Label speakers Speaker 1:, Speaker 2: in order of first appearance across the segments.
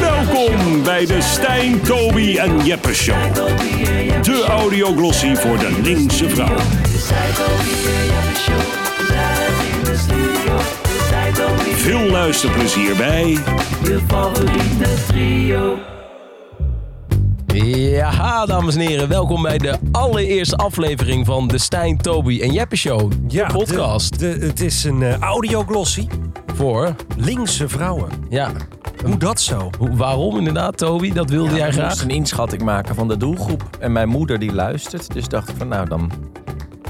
Speaker 1: Welkom bij de Stijn, Toby en Jeppe Show. De audioglossie voor de linkse vrouw. Veel luisterplezier bij
Speaker 2: Ja, dames en heren, welkom bij de allereerste aflevering van de Stijn, Toby en Jeppe Show.
Speaker 3: Ja,
Speaker 2: de podcast
Speaker 3: de- de- het is een eh, audioglossie.
Speaker 2: voor,
Speaker 3: Linkse vrouwen.
Speaker 2: ja,
Speaker 3: Hoe dat zo?
Speaker 2: hoe- waarom inderdaad, Toby? Dat wilde jij
Speaker 4: Ik
Speaker 2: graag.
Speaker 4: moest een inschatting maken van de doelgroep. En mijn moeder die luistert, dus dacht ik van nou dan...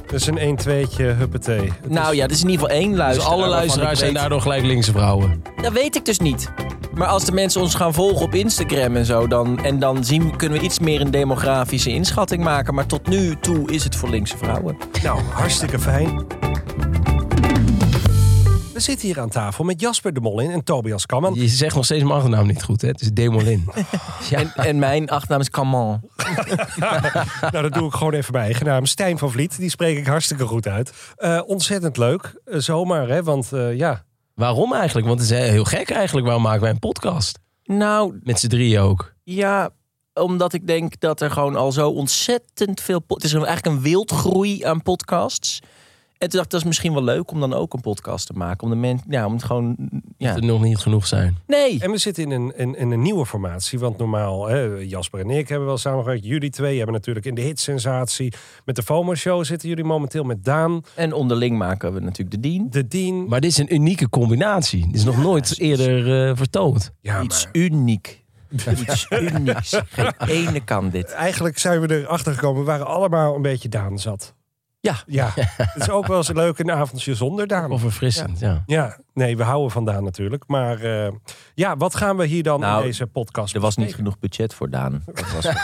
Speaker 3: Dat is een 1-2'tje, huppatee. Het
Speaker 4: Nou ja, er is in ieder geval één
Speaker 2: Dus
Speaker 4: luisteraar.
Speaker 2: alle
Speaker 4: waarvan ik
Speaker 2: luisteraars zijn
Speaker 4: weet-
Speaker 2: daardoor gelijk linkse vrouwen.
Speaker 4: Dat weet ik dus niet. Maar als de mensen ons gaan volgen op Instagram en zo, dan, en dan zien, kunnen we iets meer een demografische inschatting maken. Maar tot nu toe is het voor linkse vrouwen.
Speaker 3: is- nou, hartstikke fijn. We zitten hier aan tafel met Jasper de Mol in en Tobias Kamman.
Speaker 2: Je zegt nog steeds mijn achternaam niet goed, hè? Het is Demolin. Ja,
Speaker 4: En, en mijn achternaam is Kaman.
Speaker 3: Nou, dat doe ik gewoon even bij eigen naam. Stijn van Vliet, die spreek ik hartstikke goed uit. Eh, ontzettend leuk, Eh, zomaar hè, want eh, ja.
Speaker 2: waarom eigenlijk? Want het is eh, heel gek eigenlijk, waarom maken wij een podcast?
Speaker 4: Nou
Speaker 2: Met z'n drieën ook.
Speaker 4: ja, omdat ik denk dat er gewoon al zo ontzettend veel... po- Het is een- eigenlijk een wildgroei aan podcasts. En toen dacht ik, dat is misschien wel leuk om dan ook een podcast te maken. Om de mensen, ja, om het gewoon... Ja.
Speaker 2: Dat er nog niet genoeg zijn.
Speaker 4: Nee.
Speaker 3: En we zitten in een, in, in een nieuwe formatie, want normaal, hè, Jasper en ik hebben wel samengewerkt. Jullie twee hebben natuurlijk in de hitsensatie. Met de FOMO Show zitten jullie momenteel met Daan,
Speaker 4: En onderling maken we natuurlijk de dien.
Speaker 3: de Dien.
Speaker 2: Maar dit is een unieke combinatie. Dit is nog nooit eerder eh, vertoond.
Speaker 3: Ja,
Speaker 4: Iets
Speaker 3: maar
Speaker 4: uniek. Iets unieks. Geen ene kan dit.
Speaker 3: eigenlijk zijn we erachter gekomen, we waren allemaal een beetje Daan zat.
Speaker 4: Ja.
Speaker 3: Ja, het is ook wel eens leuk een avondje zonder Daan.
Speaker 2: Of verfrissend, ja.
Speaker 3: Ja, nee, we houden van Daan natuurlijk. Maar eh, ja, wat gaan we hier dan
Speaker 4: Nou,
Speaker 3: in deze podcast
Speaker 4: Er was niet
Speaker 3: bespreken?
Speaker 4: genoeg budget voor Daan. Dat was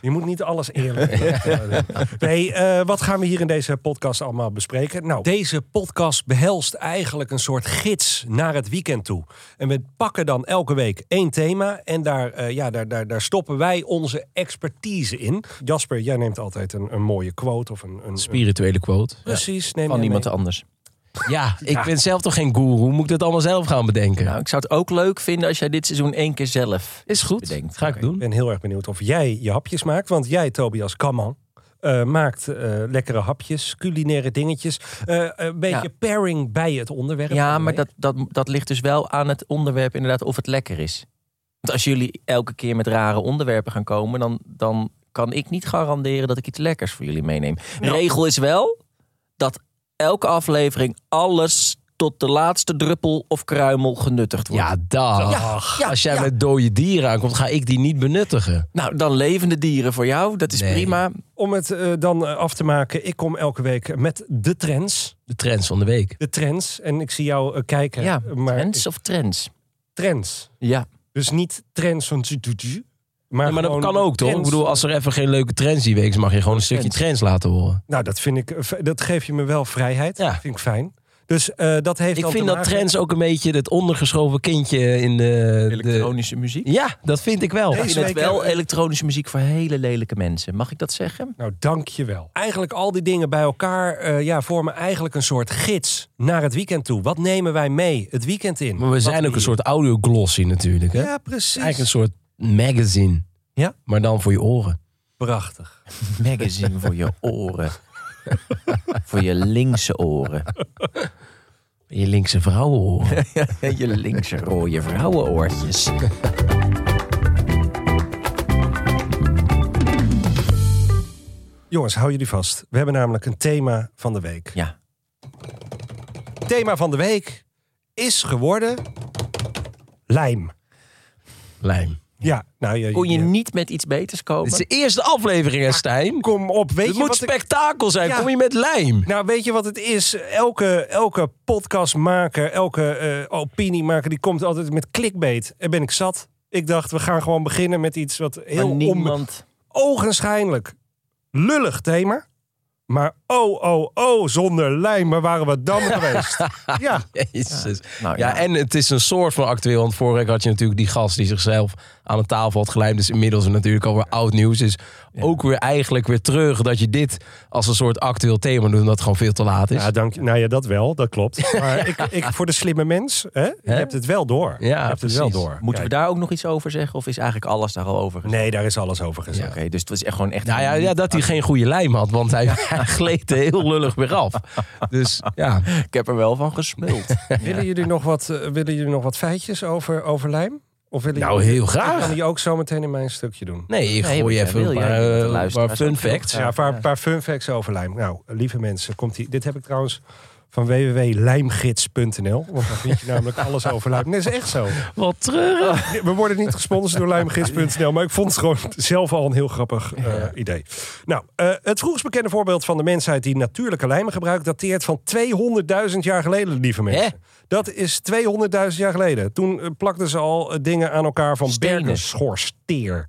Speaker 3: Je moet niet alles eerlijk doen. Nee, eh, wat gaan we hier in deze podcast allemaal bespreken? Nou, deze podcast behelst eigenlijk een soort gids naar het weekend toe. En we pakken dan elke week één thema en daar, eh, ja, daar, daar, daar stoppen wij onze expertise in. Jasper, jij neemt altijd een, een mooie quote of een... een, een
Speaker 2: Spirituele quote.
Speaker 3: precies, neem
Speaker 4: van
Speaker 3: jij
Speaker 4: iemand
Speaker 3: mee.
Speaker 4: anders.
Speaker 2: Ja, ik ben zelf toch geen guru. Moet ik dat allemaal zelf gaan bedenken?
Speaker 4: Nou, ik zou het ook leuk vinden als jij dit seizoen één keer zelf.
Speaker 2: is goed.
Speaker 4: bedenkt.
Speaker 2: Ga ik
Speaker 4: Oké.
Speaker 2: doen.
Speaker 3: Ik ben heel erg benieuwd of jij je hapjes maakt. Want jij, Tobias Kamman, eh, maakt eh, lekkere hapjes, culinaire dingetjes. Eh, een beetje
Speaker 4: Ja.
Speaker 3: pairing bij het onderwerp.
Speaker 4: Ja,
Speaker 3: van de
Speaker 4: maar
Speaker 3: week.
Speaker 4: dat, dat, dat ligt dus wel aan het onderwerp inderdaad of het lekker is. Want als jullie elke keer met rare onderwerpen gaan komen, dan, dan kan ik niet garanderen dat ik iets lekkers voor jullie meeneem. De regel is wel dat elke aflevering alles tot de laatste druppel of kruimel genuttigd wordt.
Speaker 2: Ja, dag. Als jij met dode dieren aankomt, ga ik die niet benuttigen.
Speaker 4: Nou, dan levende dieren voor jou, dat is
Speaker 2: Nee.
Speaker 4: prima.
Speaker 3: Om het eh, dan eh, af te maken, ik kom elke week met de trends.
Speaker 2: De trends van de week.
Speaker 3: De trends. En ik zie jou eh, kijken.
Speaker 4: Ja,
Speaker 3: maar
Speaker 4: trends of trends?
Speaker 3: Trends.
Speaker 4: Ja.
Speaker 3: Dus niet trends van... tju, tju, tju, Maar,
Speaker 2: Ja, maar dat
Speaker 3: gewoon
Speaker 2: kan ook, toch? Ik
Speaker 3: trends.
Speaker 2: bedoel, als er even geen leuke trends die week is, mag je gewoon een stukje
Speaker 4: Trends.
Speaker 2: trends laten horen.
Speaker 3: Nou, dat vind ik... eh, v- Dat geef je me wel vrijheid.
Speaker 2: Ja.
Speaker 3: Dat vind ik fijn. Dus eh, dat heeft
Speaker 2: Ik
Speaker 3: dan
Speaker 2: vind
Speaker 3: te
Speaker 2: dat
Speaker 3: maken-
Speaker 2: trends ook een beetje het ondergeschoven kindje in de... de...
Speaker 4: Elektronische muziek.
Speaker 2: Ja, dat vind ik wel.
Speaker 3: Nee,
Speaker 4: Ik
Speaker 3: is
Speaker 4: vind het
Speaker 3: zeker-
Speaker 4: wel elektronische muziek voor hele lelijke mensen. Mag ik dat zeggen?
Speaker 3: Nou, dank je wel. Eigenlijk al die dingen bij elkaar eh, ja, vormen eigenlijk een soort gids naar het weekend toe. Wat nemen wij mee het weekend in?
Speaker 2: Maar we
Speaker 3: Wat
Speaker 2: zijn ook een soort audioglossy natuurlijk, hè?
Speaker 3: Ja, precies.
Speaker 2: Eigenlijk een soort magazine.
Speaker 3: Ja.
Speaker 2: Maar dan voor je oren.
Speaker 3: Prachtig.
Speaker 4: Magazine voor je oren. voor je linkse oren.
Speaker 2: Je linkse vrouwenoren.
Speaker 4: je linkse rode vrouwenoortjes.
Speaker 3: Jongens, hou jullie vast. We hebben namelijk een thema van de week.
Speaker 4: Ja.
Speaker 3: Thema van de week is geworden lijm.
Speaker 2: Lijm.
Speaker 3: Ja, nou je,
Speaker 4: Kon je
Speaker 3: je-
Speaker 4: niet met iets beters
Speaker 2: Dit is
Speaker 4: komen?
Speaker 2: de eerste aflevering, hè, Stijn?
Speaker 3: kom op, weet
Speaker 2: Het
Speaker 3: je
Speaker 2: moet
Speaker 3: wat ik-
Speaker 2: spektakel zijn.
Speaker 3: Ja.
Speaker 2: Kom je met lijm?
Speaker 3: Nou, weet je wat het is? Elke, elke podcastmaker, elke eh, opiniemaker, die komt altijd met clickbait. En ben ik zat. Ik dacht, we gaan gewoon beginnen met iets wat heel
Speaker 4: Maar
Speaker 3: on...
Speaker 4: niemand.
Speaker 3: ogenschijnlijk lullig thema. Maar oh, oh, oh, zonder lijm, waar waren we dan geweest? ja,
Speaker 2: Jezus. Ja,
Speaker 4: Nou ja.
Speaker 2: en het is een soort van actueel. Want vorige week had je natuurlijk die gast die zichzelf aan een tafel had gelijmd. Dus inmiddels natuurlijk alweer oud nieuws. Dus ook weer eigenlijk weer terug dat je dit als een soort actueel thema doet. Omdat het gewoon veel te laat is.
Speaker 3: Ja, dank je. Nou ja, dat wel, dat klopt. Maar ik, ik, voor de slimme mens, hè, je hebt het wel door.
Speaker 2: Ja,
Speaker 3: je hebt het wel
Speaker 2: precies.
Speaker 3: door.
Speaker 4: Moeten
Speaker 3: Kijk,
Speaker 4: we daar ook nog iets over zeggen? Of is eigenlijk alles daar al over gezegd?
Speaker 3: Nee, daar is alles over gezegd.
Speaker 4: Oké, dus het was echt gewoon echt...
Speaker 2: Nou ja, ja, dat hij geen goede lijm had, want hij gleed er heel lullig weer af. Dus ja,
Speaker 4: Ik heb er wel van gesmuld.
Speaker 3: Willen, jullie nog wat, eh, willen jullie nog wat feitjes over, over lijm? Of willen
Speaker 2: nou
Speaker 3: jullie-
Speaker 2: heel
Speaker 3: Ik
Speaker 2: graag.
Speaker 3: kan die ook zo meteen in mijn stukje doen.
Speaker 2: Nee, ik
Speaker 4: Nee,
Speaker 2: gooi
Speaker 4: want
Speaker 2: even
Speaker 4: wil
Speaker 2: een
Speaker 4: je
Speaker 2: paar,
Speaker 4: niet
Speaker 2: eh,
Speaker 4: de luisteraars
Speaker 2: paar fun
Speaker 4: ook heel
Speaker 2: facts.
Speaker 4: graag.
Speaker 3: Ja, een paar, paar fun facts over lijm. Nou, lieve mensen, komt die, dit heb ik trouwens van www.lijmgids.nl. Want daar vind je namelijk alles over lijm. Nee, dat is echt zo.
Speaker 2: Wat treurig.
Speaker 3: We worden niet gesponsord door lijmgids.nl, maar ik vond het gewoon zelf al een heel grappig eh, idee. Nou, eh, het vroegst bekende voorbeeld van de mensheid die natuurlijke lijmen gebruikt, dateert van 200.000 jaar geleden, lieve mensen.
Speaker 4: Hè?
Speaker 3: Dat is 200.000 jaar geleden. Toen eh, plakten ze al eh, dingen aan elkaar van
Speaker 4: Stenen.
Speaker 3: berkenschorsteer.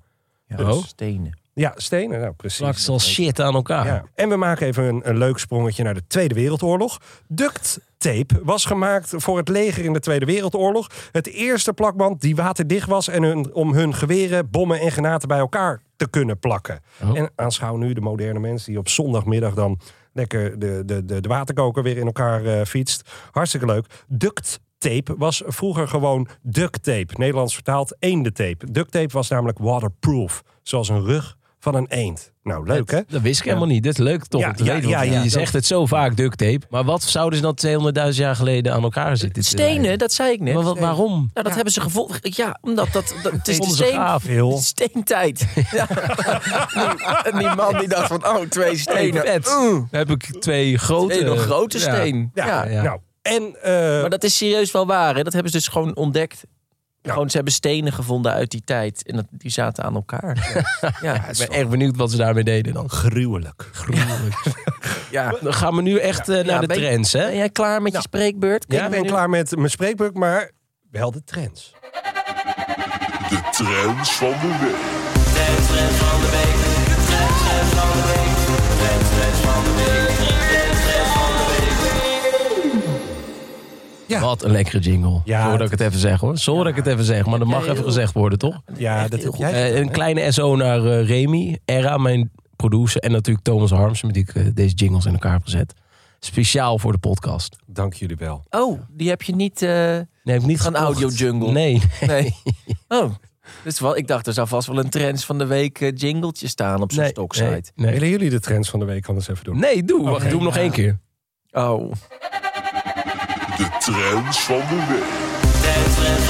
Speaker 2: Oh.
Speaker 4: Stenen.
Speaker 3: Ja, stenen, nou precies.
Speaker 2: Straks al shit aan elkaar.
Speaker 3: Ja. En we maken even een, een leuk sprongetje naar de Tweede Wereldoorlog. Duct tape was gemaakt voor het leger in de Tweede Wereldoorlog. Het eerste plakband die waterdicht was en hun, om hun geweren, bommen en granaten bij elkaar te kunnen plakken.
Speaker 2: Oh.
Speaker 3: En aanschouw nu de moderne mens die op zondagmiddag dan lekker de, de, de, de waterkoker weer in elkaar eh, fietst. Hartstikke leuk. Duct tape was vroeger gewoon duct tape. Nederlands vertaald eendentape. Duct tape was namelijk waterproof. Zoals een rug van een eend. Nou, leuk hè?
Speaker 2: Dat wist ik helemaal niet. Dit is leuk toch?
Speaker 3: Ja,
Speaker 2: om te
Speaker 3: ja,
Speaker 2: weten, want
Speaker 3: ja, ja,
Speaker 2: je
Speaker 3: dat-
Speaker 2: zegt het zo vaak, duct tape. Maar wat zouden ze dan 200.000 jaar geleden aan elkaar zitten? te lijmen?
Speaker 4: Stenen, dat zei ik net.
Speaker 2: Maar wat, waarom?
Speaker 4: Nou, dat hebben ze gevonden. Ja, omdat dat, dat het is de
Speaker 2: Vonden ze
Speaker 4: steen,
Speaker 2: gaaf.
Speaker 3: Veel.
Speaker 4: de steentijd. Ja. Die- en die man die dacht van, oh, twee stenen.
Speaker 2: Vet. Dan heb ik twee grote...
Speaker 4: Twee nog grote
Speaker 2: Ja.
Speaker 4: steen. Ja.
Speaker 3: Ja,
Speaker 2: ja.
Speaker 3: nou. En eh,
Speaker 4: Maar dat is serieus wel waar. Hè? Dat hebben ze dus gewoon ontdekt.
Speaker 3: Ja.
Speaker 4: Gewoon, ze hebben stenen gevonden uit die tijd. En dat, die zaten aan elkaar. Ja, ja,
Speaker 2: Ik ben echt benieuwd wat ze daarmee deden dan.
Speaker 3: gruwelijk.
Speaker 4: ja.
Speaker 2: Dan gaan we nu echt eh, naar de
Speaker 4: ben je-
Speaker 2: trends, hè? Nou,
Speaker 4: Ben jij klaar met je spreekbeurt? Kun je
Speaker 3: Ik
Speaker 4: me
Speaker 3: ben
Speaker 4: nu-
Speaker 3: klaar met mijn spreekbeuk, maar wel de trends.
Speaker 5: De trends van de week.
Speaker 3: Ja.
Speaker 2: Wat een lekkere jingle.
Speaker 3: Ja,
Speaker 2: Sorry dat
Speaker 3: het-
Speaker 2: ik het even zeg hoor. Sorry dat ik het even zeg, maar dat mag
Speaker 4: heel-
Speaker 2: even gezegd worden, toch?
Speaker 3: Ja, dat heb jij.
Speaker 2: Eh, een
Speaker 3: gedaan, hè?
Speaker 2: kleine SO naar eh, Remy, Era, mijn producer. En natuurlijk Thomas Harms, met die ik eh, deze jingles in elkaar heb gezet. Speciaal voor de podcast.
Speaker 3: Dank jullie wel.
Speaker 4: Oh, die heb je niet... eh,
Speaker 2: Nee, heb ik niet
Speaker 4: Een
Speaker 2: gekocht.
Speaker 4: audio-jungle.
Speaker 2: Nee.
Speaker 4: Nee. Oh. Dus wel, ik dacht, er zou vast wel een trends van de week eh, jingletje staan op zo'n
Speaker 2: nee,
Speaker 4: stoksite.
Speaker 2: nee, nee.
Speaker 3: Willen jullie de trends van de week anders even doen?
Speaker 2: Nee, doe. Wacht, doe hem nog één keer.
Speaker 4: Oh.
Speaker 5: De trends van de week.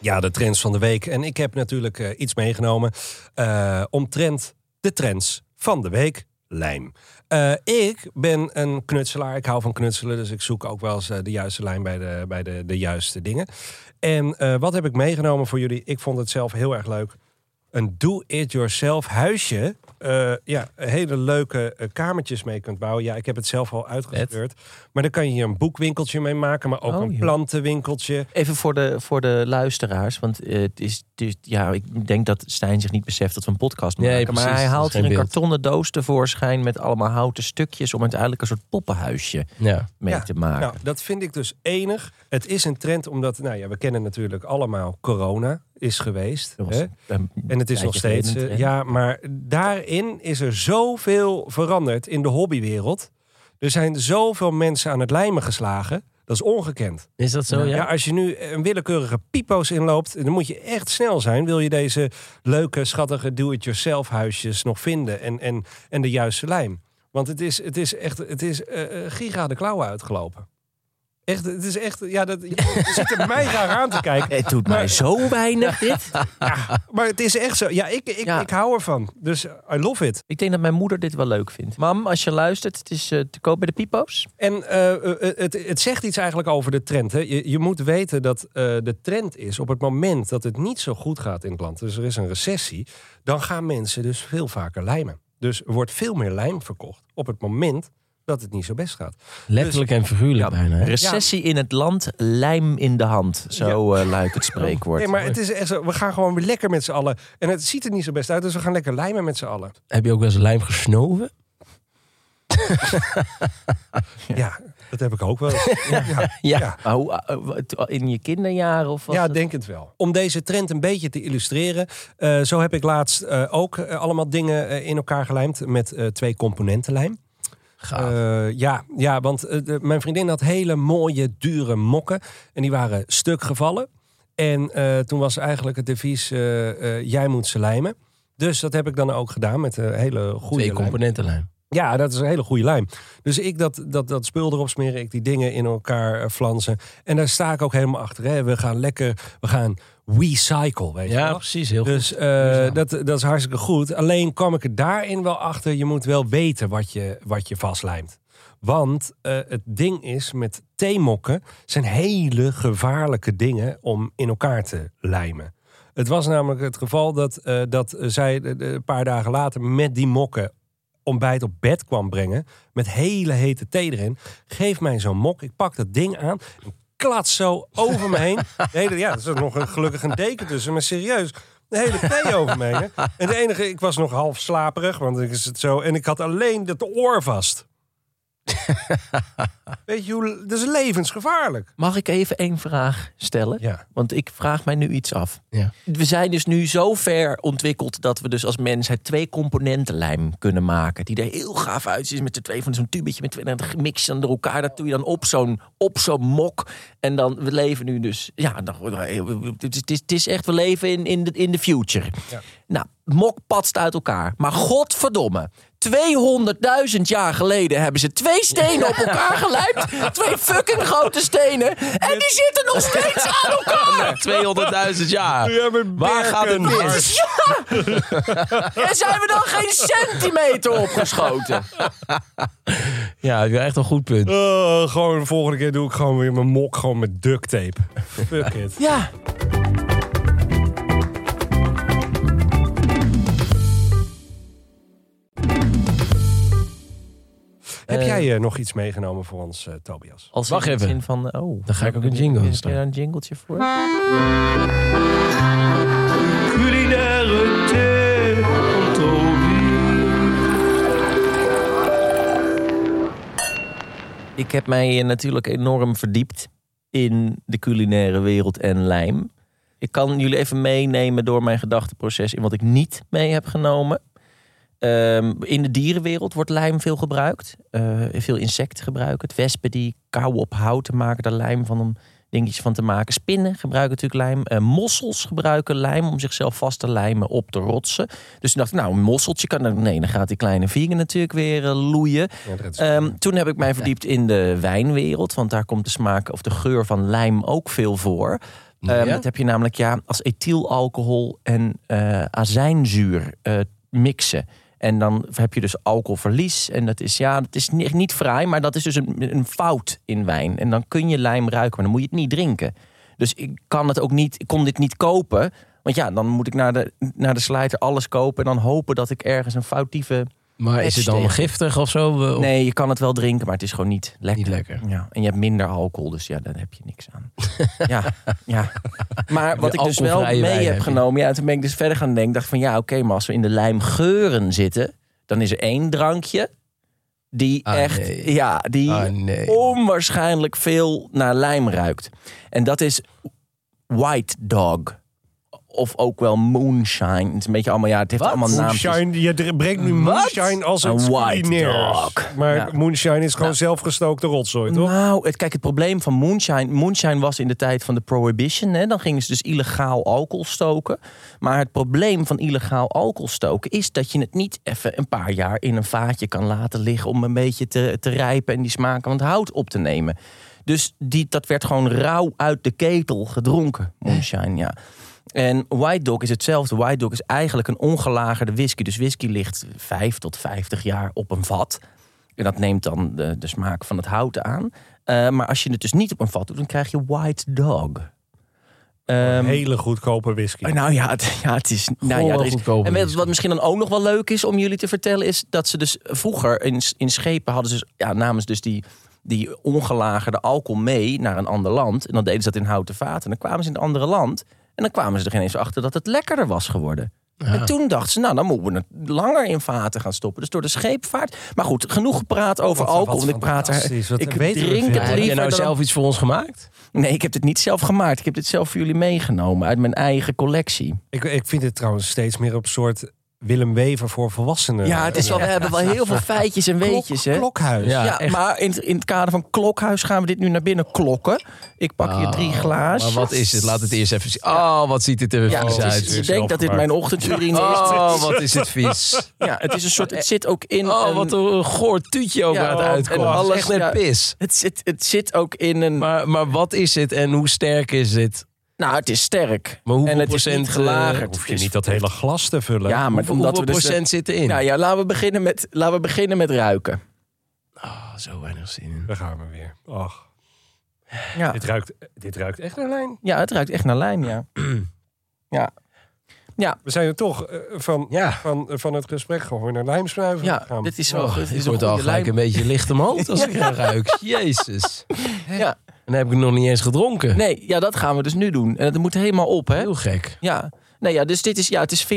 Speaker 3: Ja, de trends van de week. En ik heb natuurlijk eh, iets meegenomen eh, omtrent de trends van de week. Lijm. Eh, ik ben een knutselaar. Ik hou van knutselen. Dus ik zoek ook wel eens eh, de juiste lijm bij de, bij de, de juiste dingen. En eh, wat heb ik meegenomen voor jullie? Ik vond het zelf heel erg leuk. Een do-it-yourself huisje. Eh, ja, hele leuke eh, kamertjes mee kunt bouwen. Ja, ik heb het zelf al uitgespeurd. Maar dan kan je hier een boekwinkeltje mee maken. Maar ook
Speaker 4: Oh,
Speaker 3: een
Speaker 4: joh.
Speaker 3: plantenwinkeltje.
Speaker 4: Even voor de, voor de luisteraars, want eh, het is, het is- ja, ik denk dat Stijn zich niet beseft dat we een podcast
Speaker 2: Nee,
Speaker 4: maken.
Speaker 2: precies,
Speaker 4: maar hij
Speaker 2: dat is
Speaker 4: haalt
Speaker 2: geen
Speaker 4: hier een
Speaker 2: beeld.
Speaker 4: kartonnen doos tevoorschijn met allemaal houten stukjes om uiteindelijk een soort poppenhuisje
Speaker 2: Ja.
Speaker 4: mee
Speaker 3: Ja,
Speaker 4: te maken.
Speaker 3: Nou, dat vind ik dus enig. Het is een trend omdat, nou ja, we kennen natuurlijk allemaal corona is geweest.
Speaker 4: Dat was
Speaker 3: Hè?
Speaker 4: een
Speaker 3: En het is nog
Speaker 4: tijdje
Speaker 3: steeds.
Speaker 4: geleden,
Speaker 3: eh,
Speaker 4: hè?
Speaker 3: ja, maar daarin is er zoveel veranderd in de hobbywereld. Er zijn zoveel mensen aan het lijmen geslagen. Dat is ongekend.
Speaker 2: Is dat zo? Ja.
Speaker 3: Ja, als je nu een willekeurige pipo's inloopt, dan moet je echt snel zijn. Wil je deze leuke, schattige do-it-yourself huisjes nog vinden en, en, en de juiste lijm? Want het is, het is echt, het is eh, eh, giga de klauwen uitgelopen. Echt, het is echt, ja, dat je zit er mij raar aan te kijken.
Speaker 4: Het doet mij zo weinig dit.
Speaker 3: Maar het is echt zo. Ja, ik, ik,
Speaker 4: Ja.
Speaker 3: ik hou ervan. Dus I love it.
Speaker 4: Ik denk dat mijn moeder dit wel leuk vindt. Mam, als je luistert, het is eh, te koop bij de Pipo's.
Speaker 3: En eh, eh, het, het zegt iets eigenlijk over de trend. Hè? Je, je moet weten dat eh, de trend is op het moment dat het niet zo goed gaat in het land, dus er is een recessie, dan gaan mensen dus veel vaker lijmen. Dus er wordt veel meer lijm verkocht op het moment dat het niet zo best gaat.
Speaker 2: Letterlijk
Speaker 4: Dus-
Speaker 2: en figuurlijk bijna. hè?
Speaker 4: Recessie in het land, lijm in de hand. Zo eh, luidt het spreekwoord.
Speaker 3: Nee, maar het is echt zo, we gaan gewoon weer lekker met z'n allen. En het ziet er niet zo best uit, dus we gaan lekker lijmen met z'n allen.
Speaker 2: Heb je ook wel eens lijm gesnoven?
Speaker 3: ja, dat heb ik ook wel. eens. Ja, ja,
Speaker 4: Ja.
Speaker 3: ja.
Speaker 4: Maar hoe, eh, wat- in je kinderjaren of wat?
Speaker 3: Ja, denk het wel. Om deze trend een beetje te illustreren, eh, zo heb ik laatst eh, ook eh, allemaal dingen eh, in elkaar gelijmd met eh, twee componentenlijm.
Speaker 2: Gaaf.
Speaker 3: Eh, ja, ja, want eh, de- mijn vriendin had hele mooie, dure mokken. En die waren stuk gevallen. En eh, toen was eigenlijk het devies: eh, eh, jij moet ze lijmen. Dus dat heb ik dan ook gedaan met een hele goede
Speaker 2: Twee
Speaker 3: lijm.
Speaker 2: componentenlijn.
Speaker 3: Ja, dat is een hele goede lijm. Dus ik dat, dat, dat spul erop smeren, ik die dingen in elkaar eh, flansen. En daar sta ik ook helemaal achter. Hè. We gaan lekker, we gaan recycle, weet je
Speaker 2: Ja,
Speaker 3: wel.
Speaker 2: precies. Heel goed.
Speaker 3: Dus eh, dat, dat is hartstikke goed. Alleen kwam ik er daarin wel achter, je moet wel weten wat je, wat je vastlijmt. Want eh, het ding is, met theemokken zijn hele gevaarlijke dingen om in elkaar te lijmen. Het was namelijk het geval dat, eh, dat zij eh, een paar dagen later met die mokken ontbijt op bed kwam brengen. Met hele hete thee erin. Geef mij zo'n mok. Ik pak dat ding aan. en Klats zo over me heen. De hele, ja, er is ook nog een, gelukkig een deken tussen. Maar serieus, de hele thee over me heen. hè. En de enige, ik was nog half slaperig. Want ik is het zo. En ik had alleen dat oor vast. Weet je hoe... Dat is levensgevaarlijk.
Speaker 4: Mag ik even één vraag stellen?
Speaker 3: Ja.
Speaker 4: Want ik vraag mij nu iets af.
Speaker 2: Ja.
Speaker 4: We zijn dus nu zo ver ontwikkeld dat we dus als mensheid twee componentenlijm kunnen maken. Die er heel gaaf uitziet met de twee van zo'n tubetje met twee en dat mix dan door elkaar. Dat doe je dan op zo'n op zo'n mok. En dan, we leven nu dus, ja, dan- het is- het is- het is echt, we leven in, in, de, in de future. Nou, mok patst uit elkaar. Maar godverdomme. 200.000 jaar geleden hebben ze twee stenen op elkaar gelijmd. Twee fucking grote stenen. En die zitten nog steeds aan elkaar.
Speaker 2: 200.000 jaar. Waar gaat het
Speaker 4: Het
Speaker 2: mis?
Speaker 4: is- Ja! En zijn we dan geen centimeter opgeschoten?
Speaker 2: Ja, heb je echt een goed punt.
Speaker 3: Eh, gewoon de volgende keer doe ik gewoon weer mijn mok gewoon met duct tape. Fuck it.
Speaker 4: Ja.
Speaker 3: Heb jij eh, nog iets meegenomen voor ons, eh, Tobias?
Speaker 4: Als
Speaker 2: Wacht
Speaker 4: in de
Speaker 2: even.
Speaker 4: zin van, oh,
Speaker 2: Dan ga ik ook een jingle
Speaker 4: is er
Speaker 2: instaan.
Speaker 4: een jingletje voor? Ik heb mij eh, natuurlijk enorm verdiept in de culinaire wereld en lijm. Ik kan jullie even meenemen door mijn gedachteproces in wat ik niet mee heb genomen. Ehm, in de dierenwereld wordt lijm veel gebruikt. Eh, veel insecten gebruiken het. Wespen die kou op houten maken, daar lijm van om dingetjes van te maken. Spinnen gebruiken natuurlijk lijm. Eh, mossels gebruiken lijm om zichzelf vast te lijmen op de rotsen. Dus toen dacht ik, nou, een mosseltje kan... er- Nee, dan gaat die kleine vegan natuurlijk weer eh, loeien.
Speaker 3: Ja, dat is-
Speaker 4: Ehm, toen heb ik mij verdiept in de wijnwereld. Want daar komt de smaak of de geur van lijm ook veel voor. Ehm,
Speaker 2: Ja?
Speaker 4: Dat heb je namelijk ja, als ethylalcohol en eh, azijnzuur eh, mixen. En dan heb je dus alcoholverlies. En dat is, ja, dat is ni- niet fraai, maar dat is dus een, een fout in wijn. En dan kun je lijm ruiken, maar dan moet je het niet drinken. Dus ik, kan het ook niet, ik kon dit niet kopen. Want ja, dan moet ik naar de, naar de slijter alles kopen. En dan hopen dat ik ergens een foutieve
Speaker 2: Maar is het dan giftig of zo? We- of-
Speaker 4: Nee, je kan het wel drinken, maar het is gewoon niet lekker.
Speaker 2: Niet lekker.
Speaker 4: Ja, en je hebt minder alcohol, dus ja, daar heb je niks aan. ja, ja. Maar wat
Speaker 2: De
Speaker 4: ik dus wel
Speaker 2: alcoholvrije
Speaker 4: mee
Speaker 2: wijn
Speaker 4: heb
Speaker 2: heb je.
Speaker 4: genomen, ja, toen ben ik dus verder gaan denken, dacht van ja, oké, maar als we in de lijmgeuren zitten, dan is er één drankje die
Speaker 2: Ah,
Speaker 4: echt,
Speaker 2: nee.
Speaker 4: ja, die
Speaker 2: Ah, nee.
Speaker 4: onwaarschijnlijk veel naar lijm ruikt. En dat is White Dog. Of ook wel moonshine. Het is een beetje allemaal, ja, het heeft allemaal naampjes.
Speaker 3: Moonshine, je dr- brengt nu
Speaker 4: Wat?
Speaker 3: moonshine als
Speaker 4: Een
Speaker 3: een
Speaker 4: white
Speaker 3: culinair.
Speaker 4: dog.
Speaker 3: Maar
Speaker 4: Ja.
Speaker 3: moonshine is gewoon zelfgestookte rotzooi, toch?
Speaker 4: Nou, het, kijk, het probleem van moonshine... Moonshine was in de tijd van de prohibition. Hè, dan gingen ze dus illegaal alcohol stoken. Maar het probleem van illegaal alcohol stoken... is dat je het niet even een paar jaar in een vaatje kan laten liggen... om een beetje te, te rijpen en die smaken van het hout op te nemen. Dus die, dat werd gewoon rauw uit de ketel gedronken, moonshine, ja. En White Dog is hetzelfde. White Dog is eigenlijk een ongelagerde whisky. Dus whisky ligt 5 tot 50 jaar op een vat. En dat neemt dan de, de smaak van het hout aan. Eh, maar als je het dus niet op een vat doet, dan krijg je White Dog. Ehm,
Speaker 3: Hele goedkope whisky.
Speaker 4: nou ja, het, ja, het is... Nou
Speaker 2: Gewoon
Speaker 4: ja, er
Speaker 2: wel
Speaker 4: is
Speaker 2: goedkoper
Speaker 4: en weet je
Speaker 2: whisky.
Speaker 4: wat misschien dan ook nog wel leuk is om jullie te vertellen... is dat ze dus vroeger in, in schepen hadden ze... Dus, ja, namens dus die, die ongelagerde alcohol mee naar een ander land. En dan deden ze dat in houten vaten. En dan kwamen ze in het andere land. En dan kwamen ze er ineens achter dat het lekkerder was geworden. En toen dacht ze, nou, dan moeten we het langer in vaten gaan stoppen. Dus door de scheepvaart. Maar goed, genoeg gepraat over
Speaker 3: Wat- wat
Speaker 4: alcohol. want ik praat er.
Speaker 3: fantastisch, wat
Speaker 4: Ik
Speaker 3: weten we
Speaker 4: drink
Speaker 3: veel.
Speaker 4: het
Speaker 2: heb
Speaker 4: liever
Speaker 2: jij nou
Speaker 4: dan-
Speaker 2: zelf iets voor ons gemaakt?
Speaker 4: Nee, ik heb dit niet zelf gemaakt. Ik heb dit zelf voor jullie meegenomen uit mijn eigen collectie.
Speaker 3: Ik, ik vind het trouwens steeds meer op soort Willem Wever voor volwassenen.
Speaker 4: Ja, het is wel, we hebben wel heel veel feitjes en
Speaker 3: Klok-
Speaker 4: weetjes. Hè?
Speaker 3: Klokhuis.
Speaker 2: Ja.
Speaker 4: Ja,
Speaker 2: echt.
Speaker 4: maar in, het- in het kader van klokhuis gaan we dit nu naar binnen klokken. Ik pak hier drie glazen.
Speaker 2: Ah, Maar wat is het? Laat het eerst even zien. Oh, wat ziet dit er
Speaker 4: Ja,
Speaker 2: vies
Speaker 4: het is-
Speaker 2: uit.
Speaker 4: ik denk dat dit mijn ochtendurine
Speaker 2: Oh,
Speaker 4: is.
Speaker 2: wat is het vies.
Speaker 4: Ja, het is een soort, het zit ook in
Speaker 2: Oh,
Speaker 4: een-
Speaker 2: wat een goor tuutje over
Speaker 4: Ja,
Speaker 2: het
Speaker 4: en
Speaker 2: uitkomt.
Speaker 4: alles-
Speaker 2: Echt net
Speaker 4: ja.
Speaker 2: pis.
Speaker 4: het, zit, het zit ook in een...
Speaker 2: Maar, maar wat is het en hoe sterk is dit?
Speaker 4: nou, het is sterk.
Speaker 2: Maar hoeveel
Speaker 4: en het is
Speaker 2: procent,
Speaker 4: niet gelagerd.
Speaker 2: eh,
Speaker 3: Hoef je
Speaker 4: Het is-
Speaker 3: niet dat hele glas te vullen.
Speaker 4: Ja, maar
Speaker 2: Hoeveel,
Speaker 4: omdat
Speaker 2: hoeveel
Speaker 4: we dus...
Speaker 2: procent zit erin?
Speaker 4: Nou ja, laten we beginnen met, laten we beginnen met ruiken.
Speaker 2: Ah, zo weinig zin in.
Speaker 3: Daar gaan we weer. Ach,
Speaker 4: Ja.
Speaker 3: dit ruikt, dit ruikt echt naar lijn.
Speaker 4: ja, het ruikt echt naar lijm, ja. Ja,
Speaker 3: We zijn er toch eh, van,
Speaker 2: Ja.
Speaker 3: van, eh, van het gesprek gewoon naar lijmschuiven
Speaker 4: ja
Speaker 3: gegaan.
Speaker 4: dit is wel
Speaker 2: Oh,
Speaker 4: dit
Speaker 2: ik
Speaker 4: is een
Speaker 2: word al
Speaker 4: goede
Speaker 2: gelijk een
Speaker 4: lijm.
Speaker 2: beetje licht omhoog als ik er ruik. Jezus.
Speaker 4: Ja.
Speaker 2: En dan heb ik nog niet eens gedronken.
Speaker 4: Nee, ja, dat gaan we dus nu doen. En dat moet helemaal op, hè?
Speaker 2: Heel gek.
Speaker 4: Ja. Nee, ja, dus dit is, ja, het is 40%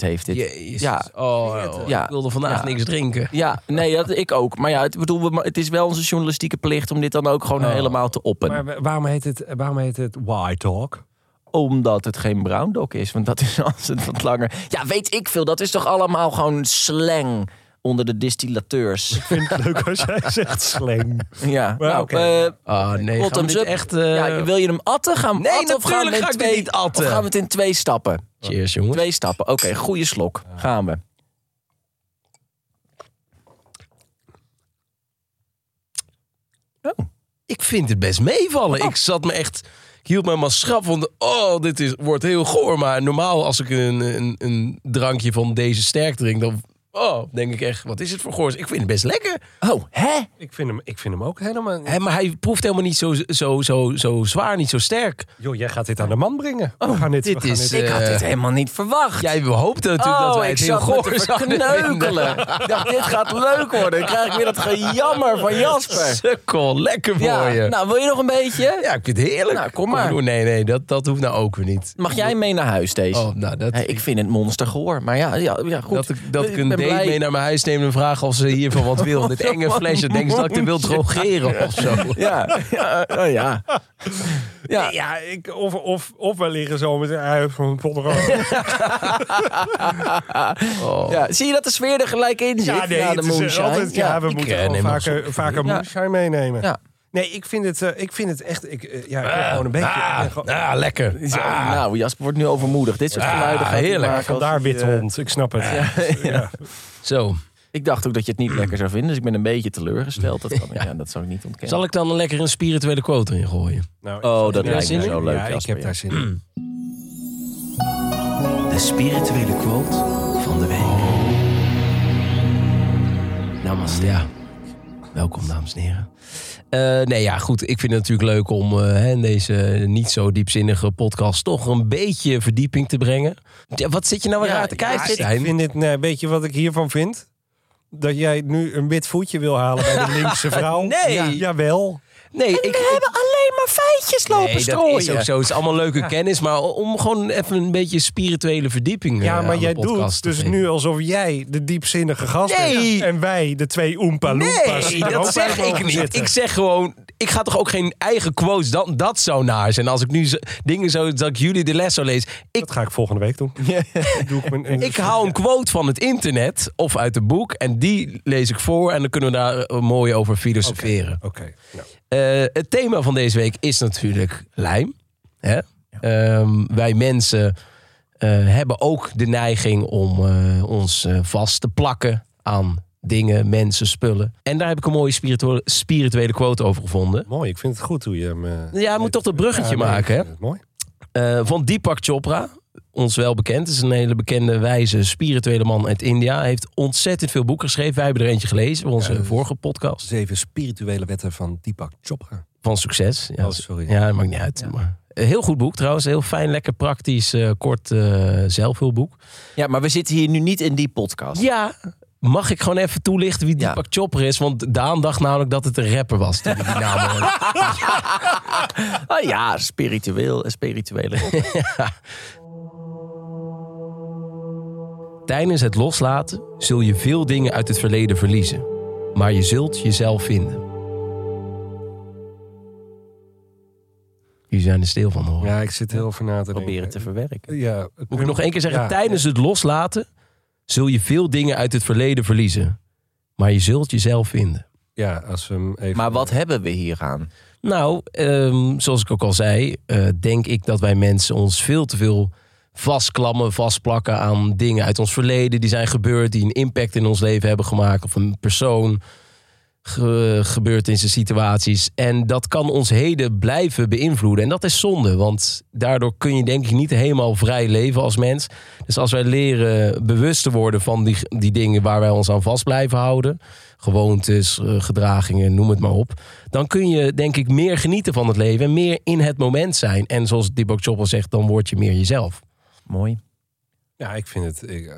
Speaker 4: heeft dit.
Speaker 2: Jezus.
Speaker 4: Ja.
Speaker 2: Oh, oh,
Speaker 4: Ja.
Speaker 2: ik wilde vandaag
Speaker 4: Ja.
Speaker 2: niks drinken.
Speaker 4: Ja, nee, dat ik ook. Maar ja, het, bedoel, we ma- het is wel onze journalistieke plicht om dit dan ook gewoon
Speaker 2: Oh.
Speaker 4: helemaal te oppen.
Speaker 3: Maar wa- waarom heet het, waarom heet het Why Talk?
Speaker 4: Omdat het geen brown dog is, want dat is als het wat langer. Ja, weet ik veel. Dat is toch allemaal gewoon slang onder de distillateurs.
Speaker 3: vind het leuk als jij zegt slang.
Speaker 4: Ja,
Speaker 3: Maar
Speaker 4: nou,
Speaker 3: oké.
Speaker 4: eh,
Speaker 2: Ah, nee.
Speaker 4: bottoms
Speaker 2: Gaan we dit
Speaker 4: up.
Speaker 2: echt... eh,
Speaker 4: ja, wil je hem atten? Gaan we hem
Speaker 2: Nee,
Speaker 4: atten of gaan we
Speaker 2: natuurlijk
Speaker 4: hem
Speaker 2: ga
Speaker 4: in
Speaker 2: ik dit
Speaker 4: twee,
Speaker 2: niet atten.
Speaker 4: Of gaan we het in twee stappen?
Speaker 2: Cheers, jongens.
Speaker 4: Twee stappen. Oké, goede slok. Gaan we.
Speaker 2: Ik vind het best meevallen.
Speaker 4: Oh.
Speaker 2: Ik zat me echt... Ik hield mij maar schrap van... Oh, dit is, wordt heel goor. Maar normaal als ik een, een, een drankje van deze sterk drink... dan oh, denk ik echt... Wat is het voor goors? Ik vind het best lekker.
Speaker 4: Oh, hè?
Speaker 3: Ik vind hem, ik vind hem ook helemaal...
Speaker 2: Hè, maar hij proeft helemaal niet zo, zo, zo, zo zwaar, niet zo sterk.
Speaker 3: Joh, jij gaat dit aan de man brengen. we gaan dit,
Speaker 2: dit
Speaker 3: we gaan
Speaker 2: is,
Speaker 3: dit-
Speaker 4: Ik had
Speaker 2: Eh,
Speaker 4: dit helemaal niet verwacht.
Speaker 2: Jij hoopte natuurlijk
Speaker 4: Oh,
Speaker 2: dat wij het heel goor zouden vinden.
Speaker 4: kneukelen. Ik dacht, dit gaat leuk worden. Dan krijg ik weer dat gejammer van Jasper.
Speaker 2: Sukkel, lekker voor
Speaker 4: Ja,
Speaker 2: je.
Speaker 4: nou, wil je nog een beetje?
Speaker 2: ja, ik vind het heerlijk.
Speaker 4: Nou, kom maar.
Speaker 2: door. nee, nee, dat, dat hoeft nou ook weer niet.
Speaker 4: Mag jij mee naar huis, deze?
Speaker 2: Oh, nou, dat,
Speaker 4: Hey, ik vind het monstergehoor. Maar ja, ja, ja goed.
Speaker 2: dat ik, dat ik een
Speaker 4: ben
Speaker 2: date
Speaker 4: blij.
Speaker 2: mee naar mijn huis neem en vraag of ze hiervan wat wil. Dit enge flesje, denk ze dat ik er wil drogeren of zo.
Speaker 4: Ja, ja, eh, ja. Ja,
Speaker 3: Ja, ik, of, of, of wij liggen zo met een ui van een pot rood.
Speaker 4: ja. Zie je dat de sfeer er gelijk in zit?
Speaker 3: Ja, nee,
Speaker 4: na de
Speaker 3: het is, eh,
Speaker 4: moonshine?
Speaker 3: altijd, ja, we moeten
Speaker 2: eh,
Speaker 3: gewoon
Speaker 2: neem nog
Speaker 3: vaker, vaker
Speaker 4: Ja.
Speaker 3: moonshine meenemen.
Speaker 4: Ja.
Speaker 3: Nee, ik vind het, eh, ik vind het echt... Ik, eh, ja, ik ben gewoon een beetje... ik ben gewoon-
Speaker 2: Ah, lekker.
Speaker 4: Zo, Nou, Jasper wordt nu overmoedig. Dit soort geluiden gaat hij
Speaker 2: heerlijk.
Speaker 4: maken als
Speaker 3: Vandaar
Speaker 4: hij,
Speaker 3: wit
Speaker 4: eh,
Speaker 3: hond, ik snap het. Ja.
Speaker 2: Zo.
Speaker 4: Ik dacht ook dat je het niet lekker zou vinden, dus ik ben een beetje teleurgesteld. Dat, kan, ja. dat zou ik niet ontkennen.
Speaker 2: Zal ik dan lekker een spirituele quote in gooien?
Speaker 3: Nou, ik-
Speaker 4: Oh, dat
Speaker 3: Ja,
Speaker 4: lijkt me
Speaker 3: zin in?
Speaker 4: zo leuk,
Speaker 3: Ja, ik
Speaker 4: Jasper,
Speaker 3: heb
Speaker 4: ja.
Speaker 3: daar zin in.
Speaker 6: De spirituele quote van de week.
Speaker 2: Namaste. Ja. Welkom, dames en heren. Eh, nee, ja, goed. Ik vind het natuurlijk leuk om eh, hè, in deze niet zo diepzinnige podcast toch een beetje verdieping te brengen. Ja, wat zit je nou weer
Speaker 4: Ja,
Speaker 2: raar te
Speaker 4: ja,
Speaker 2: kijken?
Speaker 4: ik
Speaker 2: Stijn?
Speaker 3: Ik vind dit, nee, weet je wat ik hiervan vind? Dat jij nu een wit voetje wil halen bij de linkse vrouw.
Speaker 2: Nee.
Speaker 3: Ja, jawel.
Speaker 2: nee, ik, ik,
Speaker 4: alleen maar feitjes lopen
Speaker 2: nee, dat is ook zo. Het is allemaal leuke kennis, maar om gewoon even een beetje spirituele verdieping. eh,
Speaker 3: Ja, maar
Speaker 2: aan de
Speaker 3: jij
Speaker 2: podcast
Speaker 3: doet
Speaker 2: te
Speaker 3: dus
Speaker 2: geven.
Speaker 3: nu alsof jij de diepzinnige gast
Speaker 2: Nee.
Speaker 3: bent. En wij, de twee Oompa Loompas.
Speaker 2: Nee,
Speaker 3: er ook
Speaker 2: dat zeg
Speaker 3: bij
Speaker 2: ik
Speaker 3: mogen
Speaker 2: niet.
Speaker 3: zitten.
Speaker 2: Ik zeg gewoon, ik ga toch ook geen eigen quotes. Dan, dat zou naar zijn. Als ik nu zo- dingen zo, dat ik jullie de les zou lezen. Ik
Speaker 3: Dat ga ik volgende week doen. Doe ik, mijn,
Speaker 2: Ik haal een quote van het internet of uit een boek en die lees ik voor en dan kunnen we daar eh, mooi over filosoferen.
Speaker 3: Oké. nou.
Speaker 2: Eh, het thema van deze week is natuurlijk lijm. Hè? Ehm, wij mensen eh, hebben ook de neiging om eh, ons eh, vast te plakken aan dingen, mensen, spullen. En daar heb ik een mooie spirituele, spirituele quote over gevonden.
Speaker 3: Mooi, ik vind het goed hoe je hem... eh,
Speaker 2: Ja, je moet toch dat bruggetje
Speaker 3: nee,
Speaker 2: maken,
Speaker 3: ik
Speaker 2: hè?
Speaker 3: vind het Mooi.
Speaker 2: Eh, van Deepak Chopra, ons wel bekend. Het is een hele bekende, wijze, spirituele man uit India. Hij heeft ontzettend veel boeken geschreven. Wij hebben er eentje gelezen voor onze vorige podcast.
Speaker 3: Zeven spirituele wetten van Deepak Chopra.
Speaker 2: Van succes. Ja,
Speaker 3: Oh, sorry.
Speaker 2: Ja, dat maakt niet uit. Maar, een heel goed boek trouwens. Heel fijn, lekker praktisch, eh, kort eh zelfhulpboek.
Speaker 4: Ja, maar we zitten hier nu niet in die podcast.
Speaker 2: Ja, mag ik gewoon even toelichten wie
Speaker 4: Ja.
Speaker 2: Deepak Chopra is? Want Daan dacht namelijk dat het een rapper was. toen hij die naam hoorde.
Speaker 4: Ah eh, ja, spiritueel en spirituele.
Speaker 2: Tijdens het loslaten zul je veel dingen uit het verleden verliezen, maar je zult jezelf vinden. Jullie zijn er stil van, hoor.
Speaker 3: Ja, ik zit heel veel na te denken.
Speaker 4: Proberen te verwerken.
Speaker 3: Ja,
Speaker 2: Moet ik nog één keer zeggen,
Speaker 3: Ja.
Speaker 2: tijdens het loslaten zul je veel dingen uit het verleden verliezen, maar je zult jezelf vinden.
Speaker 3: Ja, als we hem even...
Speaker 4: Maar wat hebben we hier aan?
Speaker 2: Nou, ehm, zoals ik ook al zei, eh, denk ik dat wij mensen ons veel te veel vastklammen, vastplakken aan dingen uit ons verleden die zijn gebeurd, die een impact in ons leven hebben gemaakt, of een persoon ge gebeurd in zijn situaties. En dat kan ons heden blijven beïnvloeden. En dat is zonde, want daardoor kun je denk ik niet helemaal vrij leven als mens. Dus als wij leren bewust te worden van die, die dingen waar wij ons aan vast blijven houden, gewoontes, eh, gedragingen, noem het maar op, dan kun je denk ik meer genieten van het leven en meer in het moment zijn. En zoals Dibok Chopper zegt, dan word je meer jezelf.
Speaker 4: Mooi.
Speaker 3: Ja, ik vind het... Ik, eh,